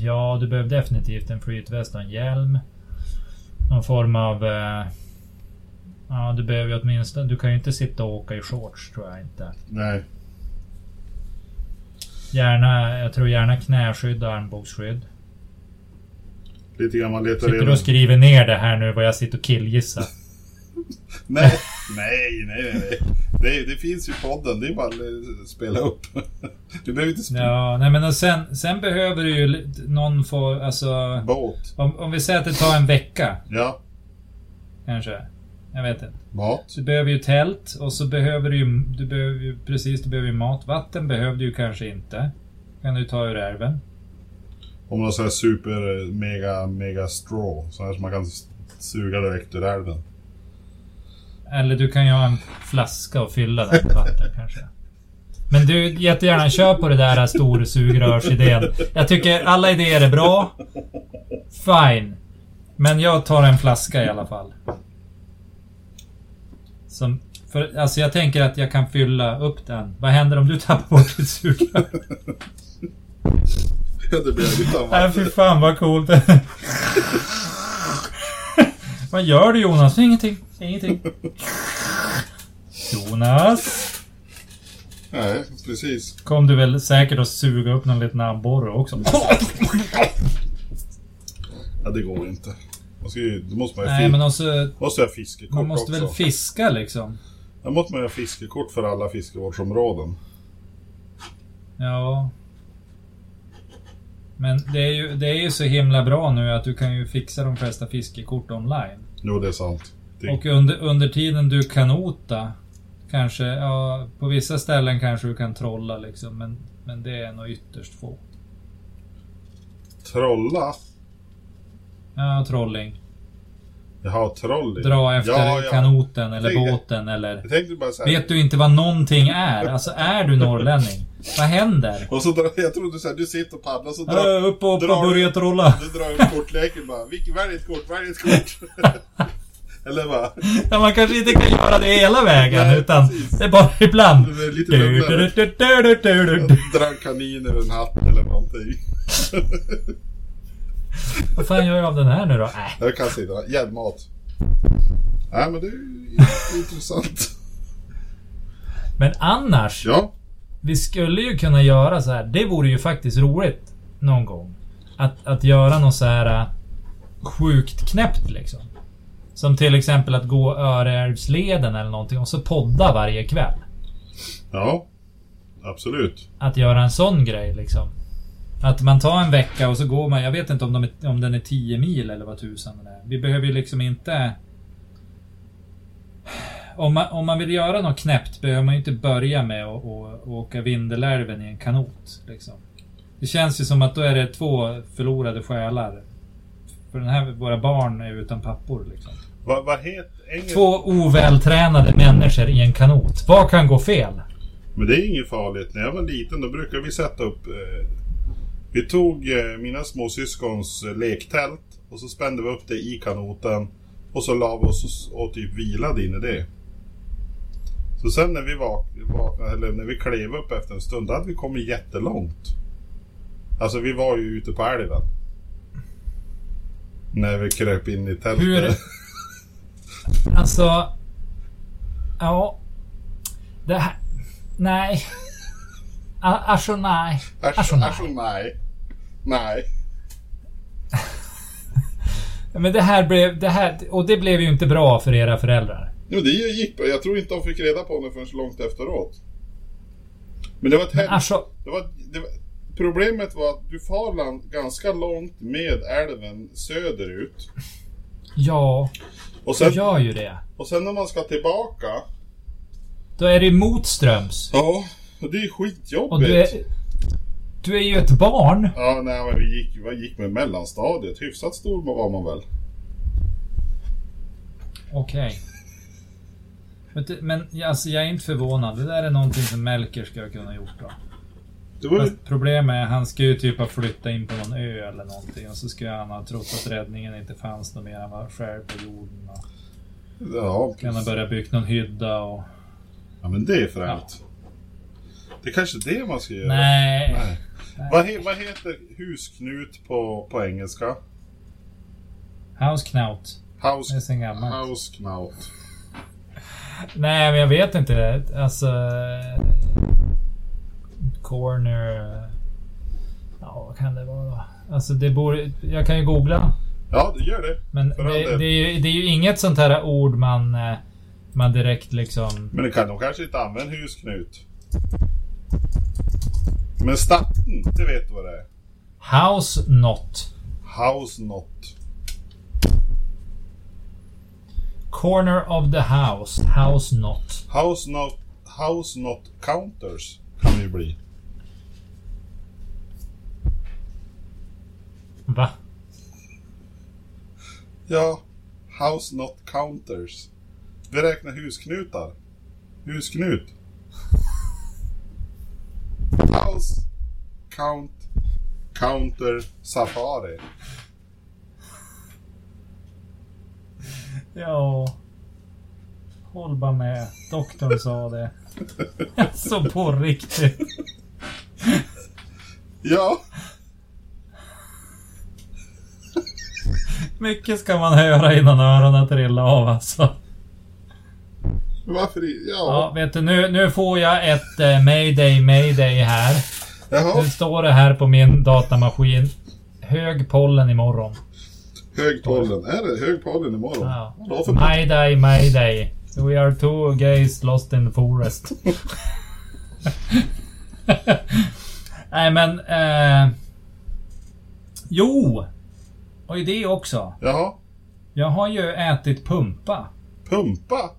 C: Ja, du behöver definitivt en flytväst och en hjälm. Någon form av... Eh, ja, du behöver ju åtminstone... Du kan ju inte sitta och åka i shorts, tror jag inte.
B: Nej.
C: Gärna, jag tror gärna knäskydd och armbågsskydd.
B: Lite grann man letar
C: Sitter du och skriver ner det här nu vad jag sitter och killgissar?
B: Nej, nej, nej, nej. nej. Det, det finns ju podden, det är bara att eh, spela upp. Du behöver inte spela
C: Ja, nej men och sen, sen behöver du ju lite- någon få, alltså...
B: båt.
C: Om, om vi säger att det tar en vecka,
B: Ja,
C: kanske. Jag vet inte.
B: mat.
C: Så du behöver ju tält och så behöver du ju, du behöver ju precis, du behöver ju mat. Vatten behöver du ju kanske inte. Kan du ta ur älven.
B: Om någon sån här super, eh, mega, mega straw. Sån här som man kan s- suga direkt ur älven.
C: Eller du kan ju ha en flaska och fylla den med vatten kanske. Men du, jättegärna kör på det där storsugrörsidén. Jag tycker alla idéer är bra. Fine. Men jag tar en flaska i alla fall. Som, för, alltså jag tänker att jag kan fylla upp den. Vad händer om du tappar bort ditt sugrör?
B: Ja, det blir utan
C: Nej, Äh, fy
B: vatten.
C: fan vad coolt. vad gör du Jonas? Ingenting. Ingenting. Jonas.
B: Nej, precis.
C: Kom du väl säkert att suga upp någon liten abborre också?
B: Ja, det går inte. Man ska ju, då måste man ju
C: Nej,
B: fi-
C: men också,
B: måste jag ha fiskekort
C: man måste
B: också.
C: väl fiska liksom.
B: Då måste man ju ha fiskekort för alla fiskevårdsområden.
C: Ja. Men det är, ju, det är ju så himla bra nu att du kan ju fixa de flesta fiskekort online.
B: Jo, det är sant. Det,
C: Och under, under tiden du kanota, kanske, ja, på vissa ställen kanske du kan trolla liksom, men, men det är nog ytterst få.
B: Trolla?
C: Ja, trolling.
B: Jaha, trolling.
C: Dra efter
B: Ja, ja.
C: kanoten eller
B: Tänk-
C: båten eller...
B: Jag tänkte bara så här.
C: Vet du inte vad någonting är? Alltså, är du norrlänning? Vad händer?
B: Och så drar, jag trodde så här, du sitter och paddlar så drar,
C: Äh, upp och upp och
B: drar du-
C: börja trolla.
B: du drar upp kortleken bara. Vilken, välj ett kort, välj ett kort. Eller bara.
C: Ja, man kanske inte kan göra det hela vägen,
B: Nej,
C: utan
B: precis.
C: det är bara ibland.
B: Det är lite
C: Du,
B: lugnare.
C: du, du, du, du, du, du, du.
B: Drar en kanin ur en hatt eller någonting.
C: Vad fan gör jag av den här nu då? Äh.
B: Jag kan sitta. Gäddmat. Nej men det är ju intressant.
C: Men annars,
B: Ja.
C: vi skulle ju kunna göra så här. Det vore ju faktiskt roligt någon gång. Att, att göra något så här äh, sjukt knäppt liksom. Som till exempel att gå Öreälvsleden eller någonting och så podda varje kväll.
B: Ja. Absolut.
C: att göra en sån grej liksom. Att man tar en vecka och så går man, jag vet inte om, de är, om den är 10 mil eller vad tusan den är. Vi behöver ju liksom inte... Om man, om man vill göra något knäppt behöver man ju inte börja med att att- att åka Vindelälven i en kanot. Liksom. Det känns ju som att då är det två förlorade själar. För den här, våra barn är utan pappor liksom.
B: Vad vad heter engelskt?
C: Två ovältränade människor i en kanot. Vad kan gå fel?
B: Men det är inget farligt. När jag var liten då brukade vi sätta upp... Eh, vi tog eh, mina småsyskons eh, lektält och så spände vi upp det i kanoten och så la vi oss och, och typ vilade in i det. Så sen när vi vak- vaknade, eller när vi klev upp efter en stund, då hade vi kommit jättelångt. Alltså vi var ju ute på älven. När vi kröp in i tältet.
C: Hur... Alltså... Ja... Det här... Nej. A- Alltså nej. Alltså,
B: Alltså,
C: nej.
B: alltså nej. Nej.
C: Men det här blev... Det här, och det blev ju inte bra för era föräldrar.
B: Jo, det gick bra. Jag tror inte de fick reda på det förrän långt efteråt. Men det var ett
C: Men
B: hem...
C: alltså...
B: det var, det var... Problemet var att du far land- ganska långt med älven söderut.
C: Ja,
B: Och sen,
C: du gör ju det.
B: och sen när man ska tillbaka.
C: Då är det motströms.
B: Ja. Och det är
C: Och
B: skitjobbigt.
C: du är... Du är ju ett barn.
B: Ja, nej men vi gick, vi gick med mellanstadiet. Hyfsat stor var man väl.
C: Okej. Men det- Men alltså, jag är inte förvånad. Det där är någonting som Melker skulle ha kunnat gjort då.
B: Det var ju...
C: Fast problemet är att han ska ju typ ha flyttat in på någon ö eller någonting och så ska han ha trott att räddningen inte fanns någon mer. Han var själv på jorden och
B: Ja,
C: kan ha
B: precis.
C: börjat bygga någon hydda och...
B: ja, men det är fränt. Det är kanske det man ska göra.
C: Nej.
B: Nej. Vad, he, vad heter husknut på, på engelska?
C: Hausknaut. Det är
B: House
C: sen gammalt.
B: Hausknaut.
C: Nej, men jag vet inte. Alltså... Corner... Ja, vad kan det vara då? Alltså, det borde... Jag kan ju googla.
B: Ja, det gör det.
C: Men
B: För all
C: det,
B: del.
C: det, är ju, det är ju inget sånt här ord man... eh, Man direkt liksom...
B: Men det kan, de kanske inte använder husknut. Men statten, det vet du vad det är.
C: House not.
B: House not.
C: Corner of the house, house not.
B: House not, house not counters kan det ju bli.
C: Va?
B: Ja, house not counters. Vi räknar husknutar. Husknut. House, count, counter, safari.
C: Ja. Håll bara med. Doktorn sa det. Så på riktigt.
B: Ja,
C: Mycket ska man höra innan öronen trillar av alltså.
B: varför i-
C: Ja,
B: Ja,
C: vet du, nu, nu får jag ett eh, mayday, mayday här. Nu
B: jaha.
C: står det här på min datamaskin. Hög pollen imorgon.
B: Högtollen. Är det högtollen imorgon?
C: Ja.
B: Vadå för
C: Mayday, mayday. We are two gays lost in the forest. Nej men... Eh, jo! Och det också.
B: Jaha.
C: Jag har ju ätit pumpa.
B: Pumpa?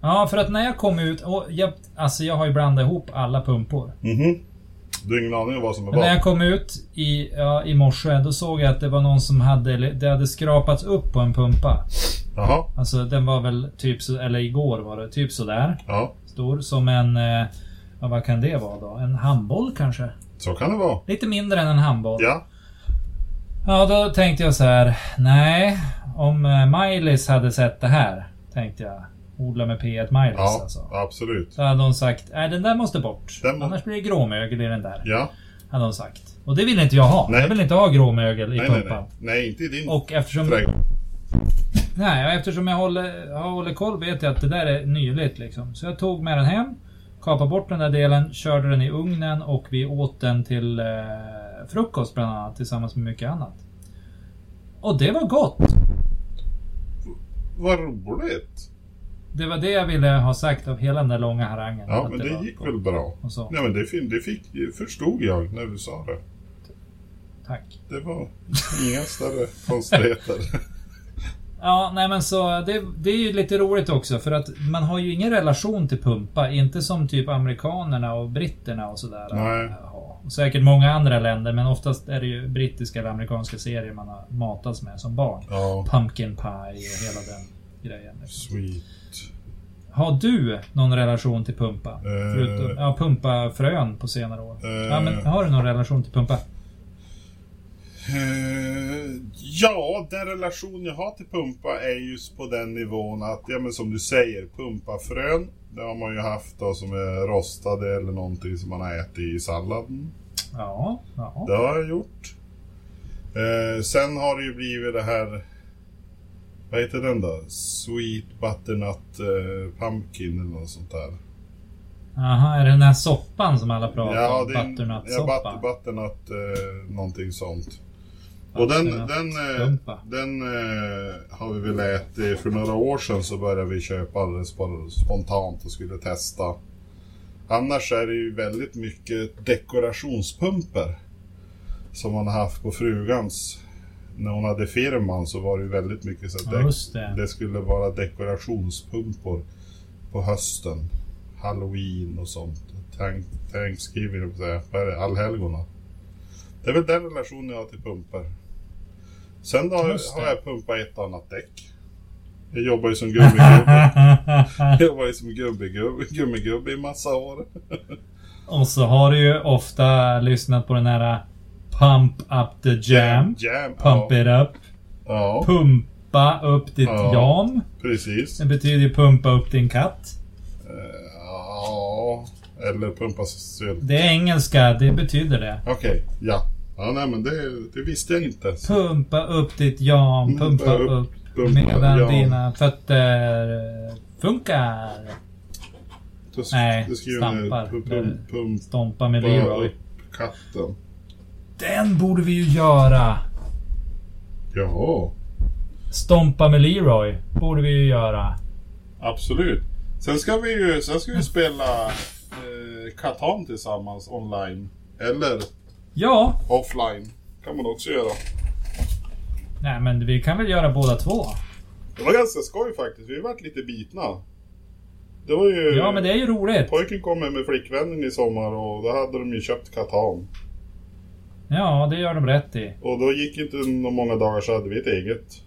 C: Ja, för att när jag kom ut... Och jag, alltså jag har ju blandat ihop alla pumpor.
B: Mhm. Du har ingen aning om vad som är
C: Men när
B: vad?
C: jag kom ut i, ja, i morse, då såg jag att det var någon som hade... eller Det hade skrapats upp på en pumpa.
B: Jaha.
C: Alltså den var väl typ så... Eller igår var det typ sådär.
B: Ja.
C: Stor som en... eh, Ja, vad kan det vara då? En handboll kanske?
B: Så kan det vara.
C: Lite mindre än en handboll.
B: Ja.
C: Ja, då tänkte jag så här. Nej, om eh, Miley's hade sett det här, tänkte jag. Odla med P1 Miley's
B: Ja.
C: alltså.
B: Absolut.
C: Så hade hon sagt, nej den där måste bort.
B: Den må-
C: Annars blir det gråmögel i den där.
B: Ja.
C: Hade hon sagt. Och det vill inte jag ha.
B: Nej.
C: Jag vill inte ha gråmögel i
B: Nej, nej,
C: pumpan.
B: nej. Nej, inte i din
C: Och eftersom...
B: trädgård.
C: Nej, och eftersom jag håller, jag håller koll vet jag att det där är nyligt liksom. Så jag tog med den hem, kapade bort den där delen, körde den i ugnen och vi åt den till eh, frukost bland annat tillsammans med mycket annat. Och det var gott!
B: Vad roligt.
C: Det var det jag ville ha sagt av hela den där långa harangen.
B: Ja,
C: Att
B: men
C: var
B: det gick
C: gott.
B: väl bra.
C: Och så,
B: Nej, men det, fin- det fick, förstod jag när du sa det.
C: tack.
B: Det var inga större konstigheter.
C: Ja, nej men så det, det är ju lite roligt också för att man har ju ingen relation till pumpa. Inte som typ amerikanerna och britterna och sådär.
B: Nej.
C: Ja, och säkert många andra länder men oftast är det ju brittiska eller amerikanska serier man har matats med som barn.
B: Ja.
C: Pumpkin pie och hela den grejen. liksom.
B: Sweet.
C: Har du någon relation till pumpa?
B: Eh.
C: Förutom, ja, pumpafrön på senare år.
B: Eh.
C: Ja, men har du någon relation till pumpa?
B: Eh, ja, den relation jag har till pumpa är just på den nivån att, ja men som du säger, pumpafrön. Det har man ju haft då som är rostade eller någonting som man har ätit i salladen.
C: Ja, ja.
B: Det har jag gjort. Eh, sen har det ju blivit det här, vad heter den då? Sweet butternut eh, pumpkin eller något sånt där.
C: Aha, är det den här soppan som alla pratar om?
B: det är en-
C: Butternut-soppa?
B: Ja, but, butternut, eh, någonting sånt. Och den,
C: Butternut
B: den, eh,
C: skumpa.
B: den eh, har vi väl ätit för några år sedan så började vi köpa alldeles bara spontant och skulle testa. Annars är det ju väldigt mycket dekorationspumper som man har haft på frugans. När hon hade firman så var det ju väldigt mycket så att
C: Ja,
B: dek-
C: just det.
B: det skulle vara dekorationspumpor på hösten. Halloween och sånt. Thank- Thanksgiving, höll jag på att säga. Vad är det? Allhelgona. Det är väl den relationen jag har till pumpor. Sen då har,
C: Just det.
B: har jag pumpat ett annat däck. Jag jobbar ju som gummigubbe. jag jobbar ju som gummigubbe, gummigubbe i massa år.
C: Och så har du ju ofta lyssnat på den här äh, Pump up the jam.
B: Jam, ja.
C: Pump it up.
B: ja.
C: Pumpa upp ditt
B: Ja.
C: jam.
B: Precis. Eh,
C: Det betyder ju pumpa upp din katt.
B: Ja. Eller pumpa sylt.
C: Det är engelska, det betyder det.
B: Okej, ja. Ja, nej men det, det visste jag inte.
C: Pumpa upp ditt jam, pumpa
B: Pumpa
C: upp.
B: upp, pumpa,
C: medan
B: ja.
C: dina fötter eh, funkar.
B: Då sk-
C: Nej,
B: då skriver
C: stampar.
B: ni Pump, pump, pump,
C: Stompa med
B: bara upp
C: Leroy.
B: katten.
C: Den borde vi ju göra!
B: Jaha.
C: Stompa med Leroy borde vi ju göra.
B: Absolut. Sen ska vi ju sen ska vi spela eh, Katan tillsammans online. Eller
C: Ja,
B: offline. Kan man också göra.
C: nej men vi kan väl göra båda två.
B: Det var ganska skoj faktiskt. Vi vart lite bitna. Det var ju...
C: Ja men det är ju roligt.
B: Pojken kom hem med flickvännen i sommar och då hade de ju köpt Katan.
C: Ja, det gör de rätt i.
B: Och då gick inte någon många dagar så hade vi ett eget.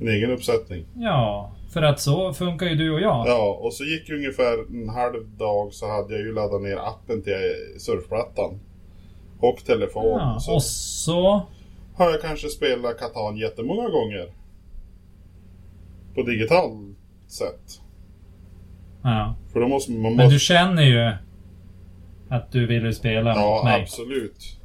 B: En egen uppsättning.
C: Ja, för att så funkar ju du och jag.
B: Ja, och så gick ju ungefär en halv dag så hade jag ju laddat ner appen till surfplattan. Och telefon.
C: Ja,
B: så
C: och så...
B: har jag kanske spelat Catan jättemånga gånger. På digital sätt.
C: Ja.
B: För då måste man...
C: Men
B: Måste,
C: du känner ju att du vill ju spela mot
B: ja,
C: mig.
B: absolut.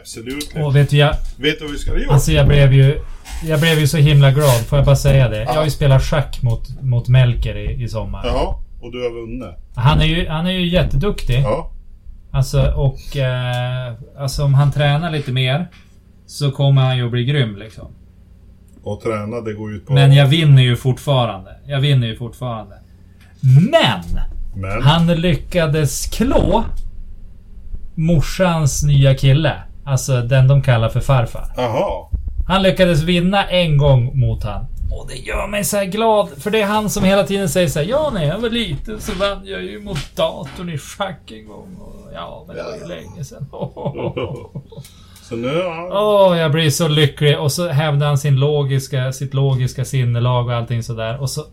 B: Absolut.
C: Och vet du, jag,
B: Vet du vad vi skulle ha gjort?
C: alltså jag blev ju... Jag blev ju så himla glad, får jag bara säga det. Jag har ju spelat schack mot, mot Melker i, i sommar.
B: Jaha, och du har vunnit.
C: Han, är ju, han är ju jätteduktig.
B: Ja.
C: Alltså, och... Eh, alltså om han tränar lite mer så kommer han ju att bli grym liksom.
B: Och träna, det går ut på...
C: Men jag vinner ju fortfarande. Jag vinner ju fortfarande. Men!
B: Men
C: Han lyckades klå morsans nya kille. Alltså den de kallar för farfar.
B: Jaha.
C: Han lyckades vinna en gång mot han. Och det gör mig så här glad, för det är han som hela tiden säger så här, ja när jag var liten så vann jag ju mot datorn i schack en gång. Och, ja, men det var ju länge sedan.
B: Så nu har han...
C: Åh, jag blir så lycklig. Och så hävdar han sin logiska, sitt logiska sinnelag och allting sådär. Och så,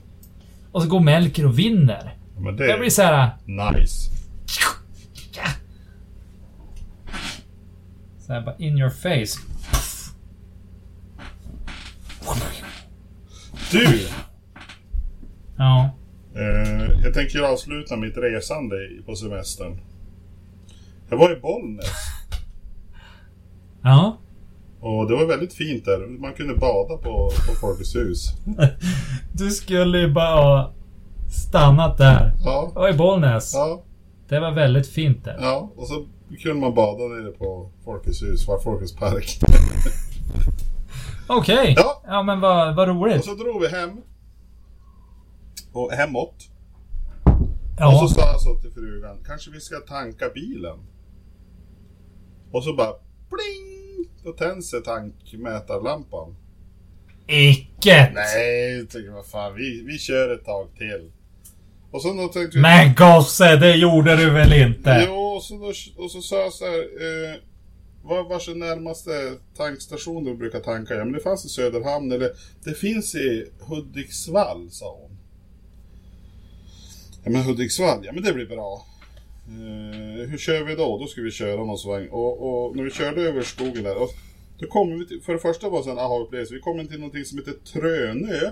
C: och så går Melker och vinner.
B: Men det
C: Jag blir
B: är
C: så här,
B: nice.
C: så här bara in your face.
B: Du!
C: Ja.
B: Eh, jag tänker avsluta mitt resande i- på semestern. Jag var i Bollnäs
C: Ja.
B: och det var väldigt fint där. Man kunde bada på, på Folkets hus.
C: Du skulle ju bara ha stannat där.
B: Ja,
C: Och i Bollnäs.
B: ja,
C: Det var väldigt fint där.
B: ja. Och så kunde man bada nere på Folkets hus, var Folkets park.
C: Okej.
B: Ja.
C: Ja men vad, vad
B: Och
C: roligt.
B: så drog vi hem. Och hemåt.
C: Ja.
B: Och så sa jag så till frugan, kanske vi ska tanka bilen? Och så bara pling! Då tänds det tankmätarlampan.
C: Icket!
B: Nej, jag tycker vad fan, vi, vi kör ett tag till. Och så då tänkte vi...
C: Men gosse, det gjorde du väl inte?
B: Jo, och så, då, och så sa jag så här, eh, vad vars är närmaste tankstation du brukar tanka? Ja, men det fanns i Söderhamn eller det finns i Hudiksvall, sa hon. Ja, men Hudiksvall, ja men det blir bra. Eh, hur kör vi då? Då ska vi köra någon sväng. Och, och när vi körde över skogen där, och, då kom vi till, för det första var det en aha-upplevelse, vi kom till någonting som heter Trönö.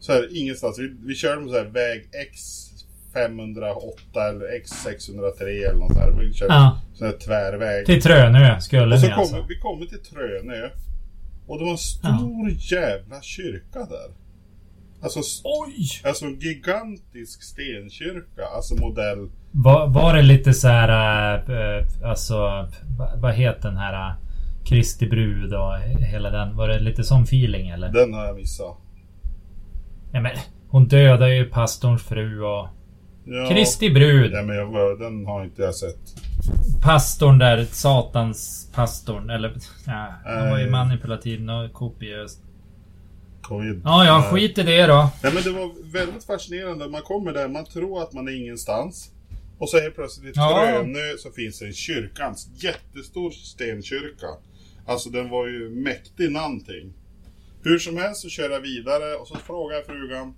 B: Så här, ingenstans, vi, vi körde på så här väg X508 eller X603 eller något så här. Vi körde
C: Ja.
B: sån här tvärväg.
C: Till Trönö skulle
B: Och så
C: ni
B: kommer
C: alltså?
B: vi kommer till Trönö. Och det var en stor jävla kyrka där. Alltså, s-
C: Oj!
B: alltså en gigantisk stenkyrka. Alltså modell...
C: Var, var det lite så här, äh, äh, alltså, va- vad heter den här äh, Kristi brud och hela den? Var det lite sån feeling eller?
B: Den har jag missat.
C: Ja, men, hon dödar ju pastorns fru och...
B: Ja,
C: Kristi brud!
B: Ja, men jag, var- den har inte jag sett.
C: Pastorn där, satans pastorn eller... Ja, han var ju
B: Nej.
C: manipulativ och kopiös.
B: Covid.
C: Ja, ja,
B: Nej.
C: skit i det då.
B: Nej, men det var väldigt fascinerande. Man kommer där, man tror att man är ingenstans. Och så helt plötsligt i
C: Ja.
B: Trönö så finns det en kyrka. En jättestor stenkyrka. Alltså den var ju mäktig någonting. Hur som helst så kör jag vidare och så frågar jag frugan.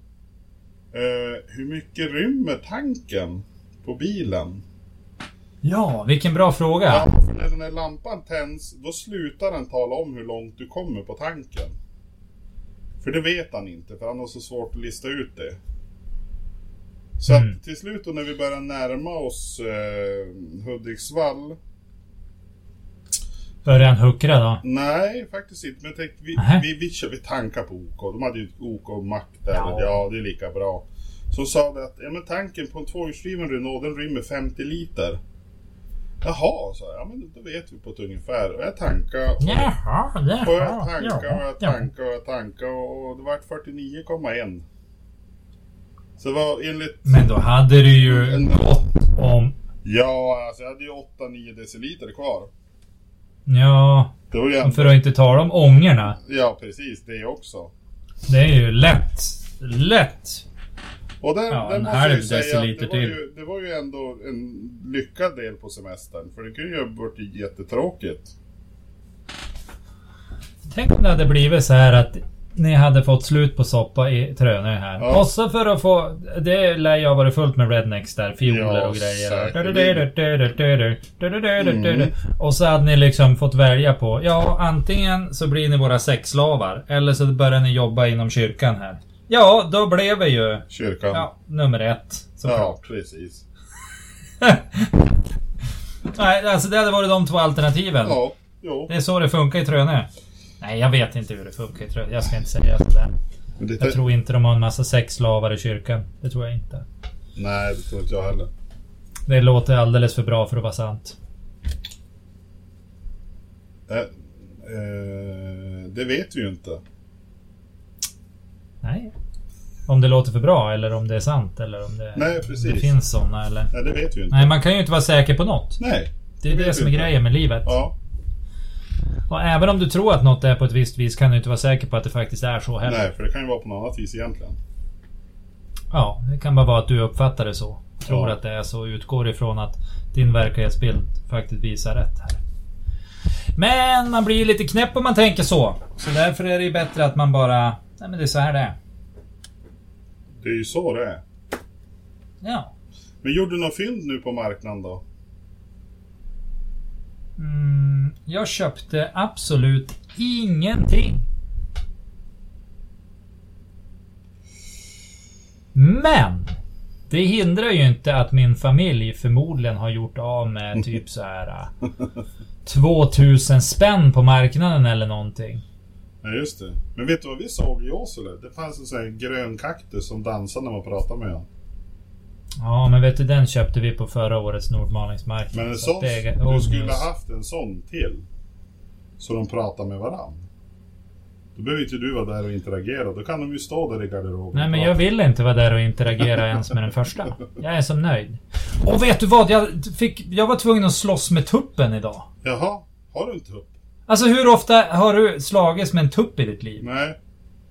B: Eh, hur mycket rymmer tanken på bilen?
C: Ja, vilken bra fråga.
B: Ja, för när den här lampan tänds, då slutar den tala om hur långt du kommer på tanken. För det vet han inte, för han har så svårt att lista ut det. Så
C: Mm.
B: att till slut då när vi börjar närma oss eh, Hudiksvall.
C: Börjar han huckra då?
B: Nej, faktiskt inte. Men jag tänkte, vi,
C: Nähä.
B: vi, vi, kör, vi tankar på OK. De hade ju ett OK-mack där.
C: Ja.
B: Ja. ja, det är lika bra. Så sa vi att ja, men tanken på en tvåhjulsdriven Renault, den rymmer 50 liter. Jaha, sa jag. Ja, men då vet vi på ett ungefär. Och jag tankade. och-
C: Jaha, jaha.
B: Och jag tankade och
C: ja,
B: jag
C: ja.
B: tankade och jag tankade och det vart 49,1. Så det var enligt...
C: Men då hade du ju
B: en-
C: om...
B: Ja, alltså jag hade ju 8-9 deciliter kvar.
C: Ja,
B: Det var ju...
C: för att inte tala om ångorna.
B: Ja, precis. Det också.
C: Det är ju lätt. Lätt.
B: Och där,
C: Ja,
B: där
C: en
B: måste jag ju
C: halv
B: säga att
C: deciliter
B: det var
C: till.
B: ju, det var ju ändå en lyckad del på semestern. För det kunde ju ha varit jättetråkigt.
C: Tänk om det hade blivit så här att ni hade fått slut på soppa i Trönö här.
B: Ja.
C: Och så för att få... Det lär jag ha varit fullt med rednecks där. Fioler
B: Ja,
C: och grejer.
B: säkert. Mm.
C: Du-du-du-du-du-du-du-du-du-du-du-du-du. Och så hade ni liksom fått välja på... Ja, antingen så blir ni våra sexslavar. Eller så börjar ni jobba inom kyrkan här. Ja, då blev vi ju...
B: Kyrkan.
C: Ja, nummer ett. Såklart.
B: ja precis.
C: Nej, alltså det hade varit de två alternativen.
B: Ja, jo.
C: Det är så det funkar i Trönö. Nej, jag vet inte hur det funkar i Trönö. Jag ska inte säga sådär.
B: Men det,
C: Jag tror inte de har en massa sexslavar i kyrkan. Det tror jag inte.
B: Nej, det tror inte jag heller.
C: Det låter alldeles för bra för att vara sant.
B: Eh, eh, det vet vi ju inte.
C: Nej. Om det låter för bra eller om det är sant eller om det,
B: Nej,
C: det
B: precis.
C: finns sådana eller...
B: Nej, det vet vi ju inte.
C: Nej, man kan ju inte vara säker på något.
B: Nej.
C: Det är
B: Det
C: det
B: vet
C: som
B: vi
C: är
B: inte.
C: grejen med livet.
B: Ja,
C: Och även om du tror att något är på ett visst vis kan du inte vara säker på att det faktiskt är så heller.
B: nej, för det kan ju vara på något annat vis egentligen.
C: Ja, det kan bara vara att du uppfattar det så. Tror
B: Ja.
C: att det är så och utgår ifrån att din verklighetsbild faktiskt visar rätt här. Men man blir lite knäpp om man tänker så. Så därför är det ju bättre att man bara... Nej men det är så här det är.
B: Det är ju så det är.
C: Ja.
B: Men gjorde du något fynd nu på marknaden då?
C: Mm, jag köpte absolut ingenting. Men! Det hindrar ju inte att min familj förmodligen har gjort av med typ så här äh, 2000 spänn på marknaden eller någonting.
B: Ja, just det. Men vet du vad vi såg i Åsele? Det fanns en sån här grön kaktus som dansade när man pratade med honom.
C: Ja, men vet du den köpte vi på förra årets Nordmalningsmarknad.
B: Men en
C: så att
B: sån,
C: det är
B: du
C: old
B: skulle
C: news.
B: ha haft en sån till. Så de pratar med varandra. Då behöver inte du vara där och interagera. Då kan de ju stå där i garderoben.
C: Nej,
B: och
C: men
B: prata.
C: jag vill inte vara där och interagera ens med den första. Jag är som nöjd. Och vet du vad? Jag, fick, jag var tvungen att slåss med tuppen idag.
B: Jaha, har du en tupp?
C: Alltså hur ofta har du slagits med en tupp i ditt liv?
B: Nej,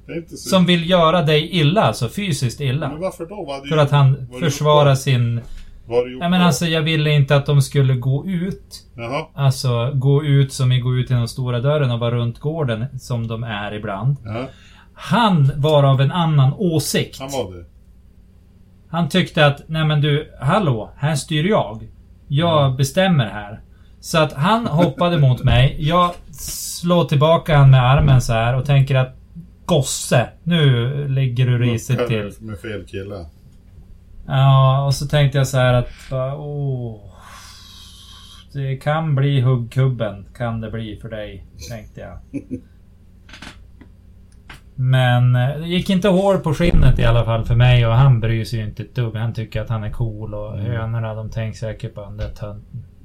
B: det är inte så.
C: Som vill göra dig illa, alltså fysiskt illa.
B: Men varför då? Vad hade
C: För
B: du-
C: att han
B: vad hade du
C: försvarar
B: gjort
C: sin...
B: då? Vad har du gjort
C: Nej men
B: då?
C: alltså jag ville inte att de skulle gå ut.
B: Jaha,
C: Alltså gå ut som i gå ut genom stora dörren och vara runt gården som de är ibland.
B: ja,
C: Han var av en annan åsikt.
B: han var det.
C: Han tyckte att, nej men du, hallå, här styr jag. Jag bestämmer här. Så att han hoppade mot mig. Jag slår tillbaka han med armen så här och tänker att Gosse, nu ligger du
B: Mm.
C: risigt till.
B: Med fel kille.
C: Ja, och så tänkte jag så här att, bara, åh. Det kan bli huggkubben, kan det bli för dig, tänkte jag. Men eh, det gick inte hår på skinnet i alla fall för mig och han bryr sig ju inte ett dugg. Han tycker att han är cool och
B: Mm.
C: hönorna de tänker säkert på den där tönten.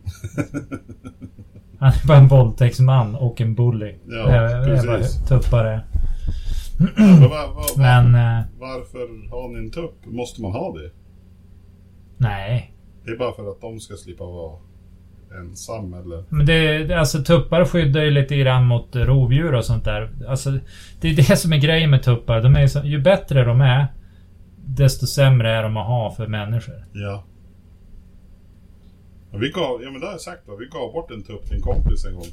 C: Han är bara en våldtäktsman och en bully.
B: Ja,
C: det är, det är bara
B: precis.
C: tuppare.
B: Men var, var, var,
C: Men eh,
B: varför har ni en tupp? Måste man ha det?
C: nej,
B: Det är bara för att de ska slippa vara ensam eller?
C: Men det, det- alltså tuppar skyddar ju lite grann mot eh, rovdjur och sånt där. Alltså, det är det som är grejen med tuppar. De är ju, så, ju bättre de är, desto sämre är de att ha för människor.
B: Ja. Ja, Vi gav, ja men det har jag sagt va, vi gav bort en tupp till en kompis en gång.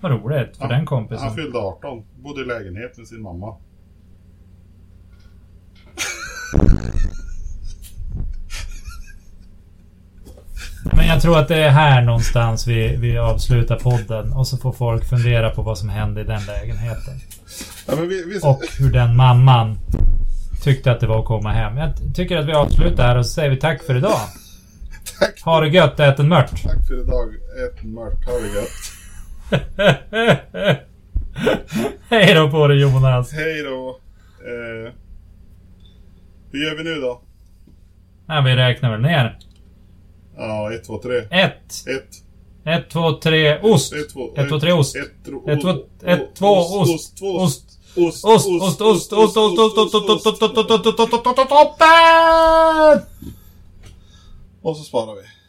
C: Vad roligt för
B: Ja,
C: den kompisen.
B: Han fyllde 18, bodde i lägenhet med sin mamma.
C: Men jag tror att det är här någonstans vi, vi avslutar podden och så får folk fundera på vad som hände i den lägenheten.
B: Ja, men vi, vi,
C: Och hur den mamman tyckte att det var att komma hem. Jag t- tycker att vi avslutar här och så säger vi tack för idag.
B: Tack.
C: Ha det gött, ät en mört.
B: Tack för idag, ett mört, ha det gött.
C: Hej då på dig Jonas.
B: Hej då. Eh, hur gör vi nu då?
C: Ja, vi räknar väl ner.
B: Ja, ett, två, tre.
C: Ett,
B: Ett,
C: ett, två, tre, ost!
B: ett, två,
C: Ett, två, tre, ost!
B: Ett, tro-
C: Ett, två,
B: o-
C: ett,
B: o-
C: två, ost,
B: två,
C: Ost!
B: Ost,
C: Ost, ost, ost, ost, ost, ost, ost, ost, ost, ost, ost, ost, ost, ost, ost, ost, ost, ost, ost, ost,
B: Och så sparar vi.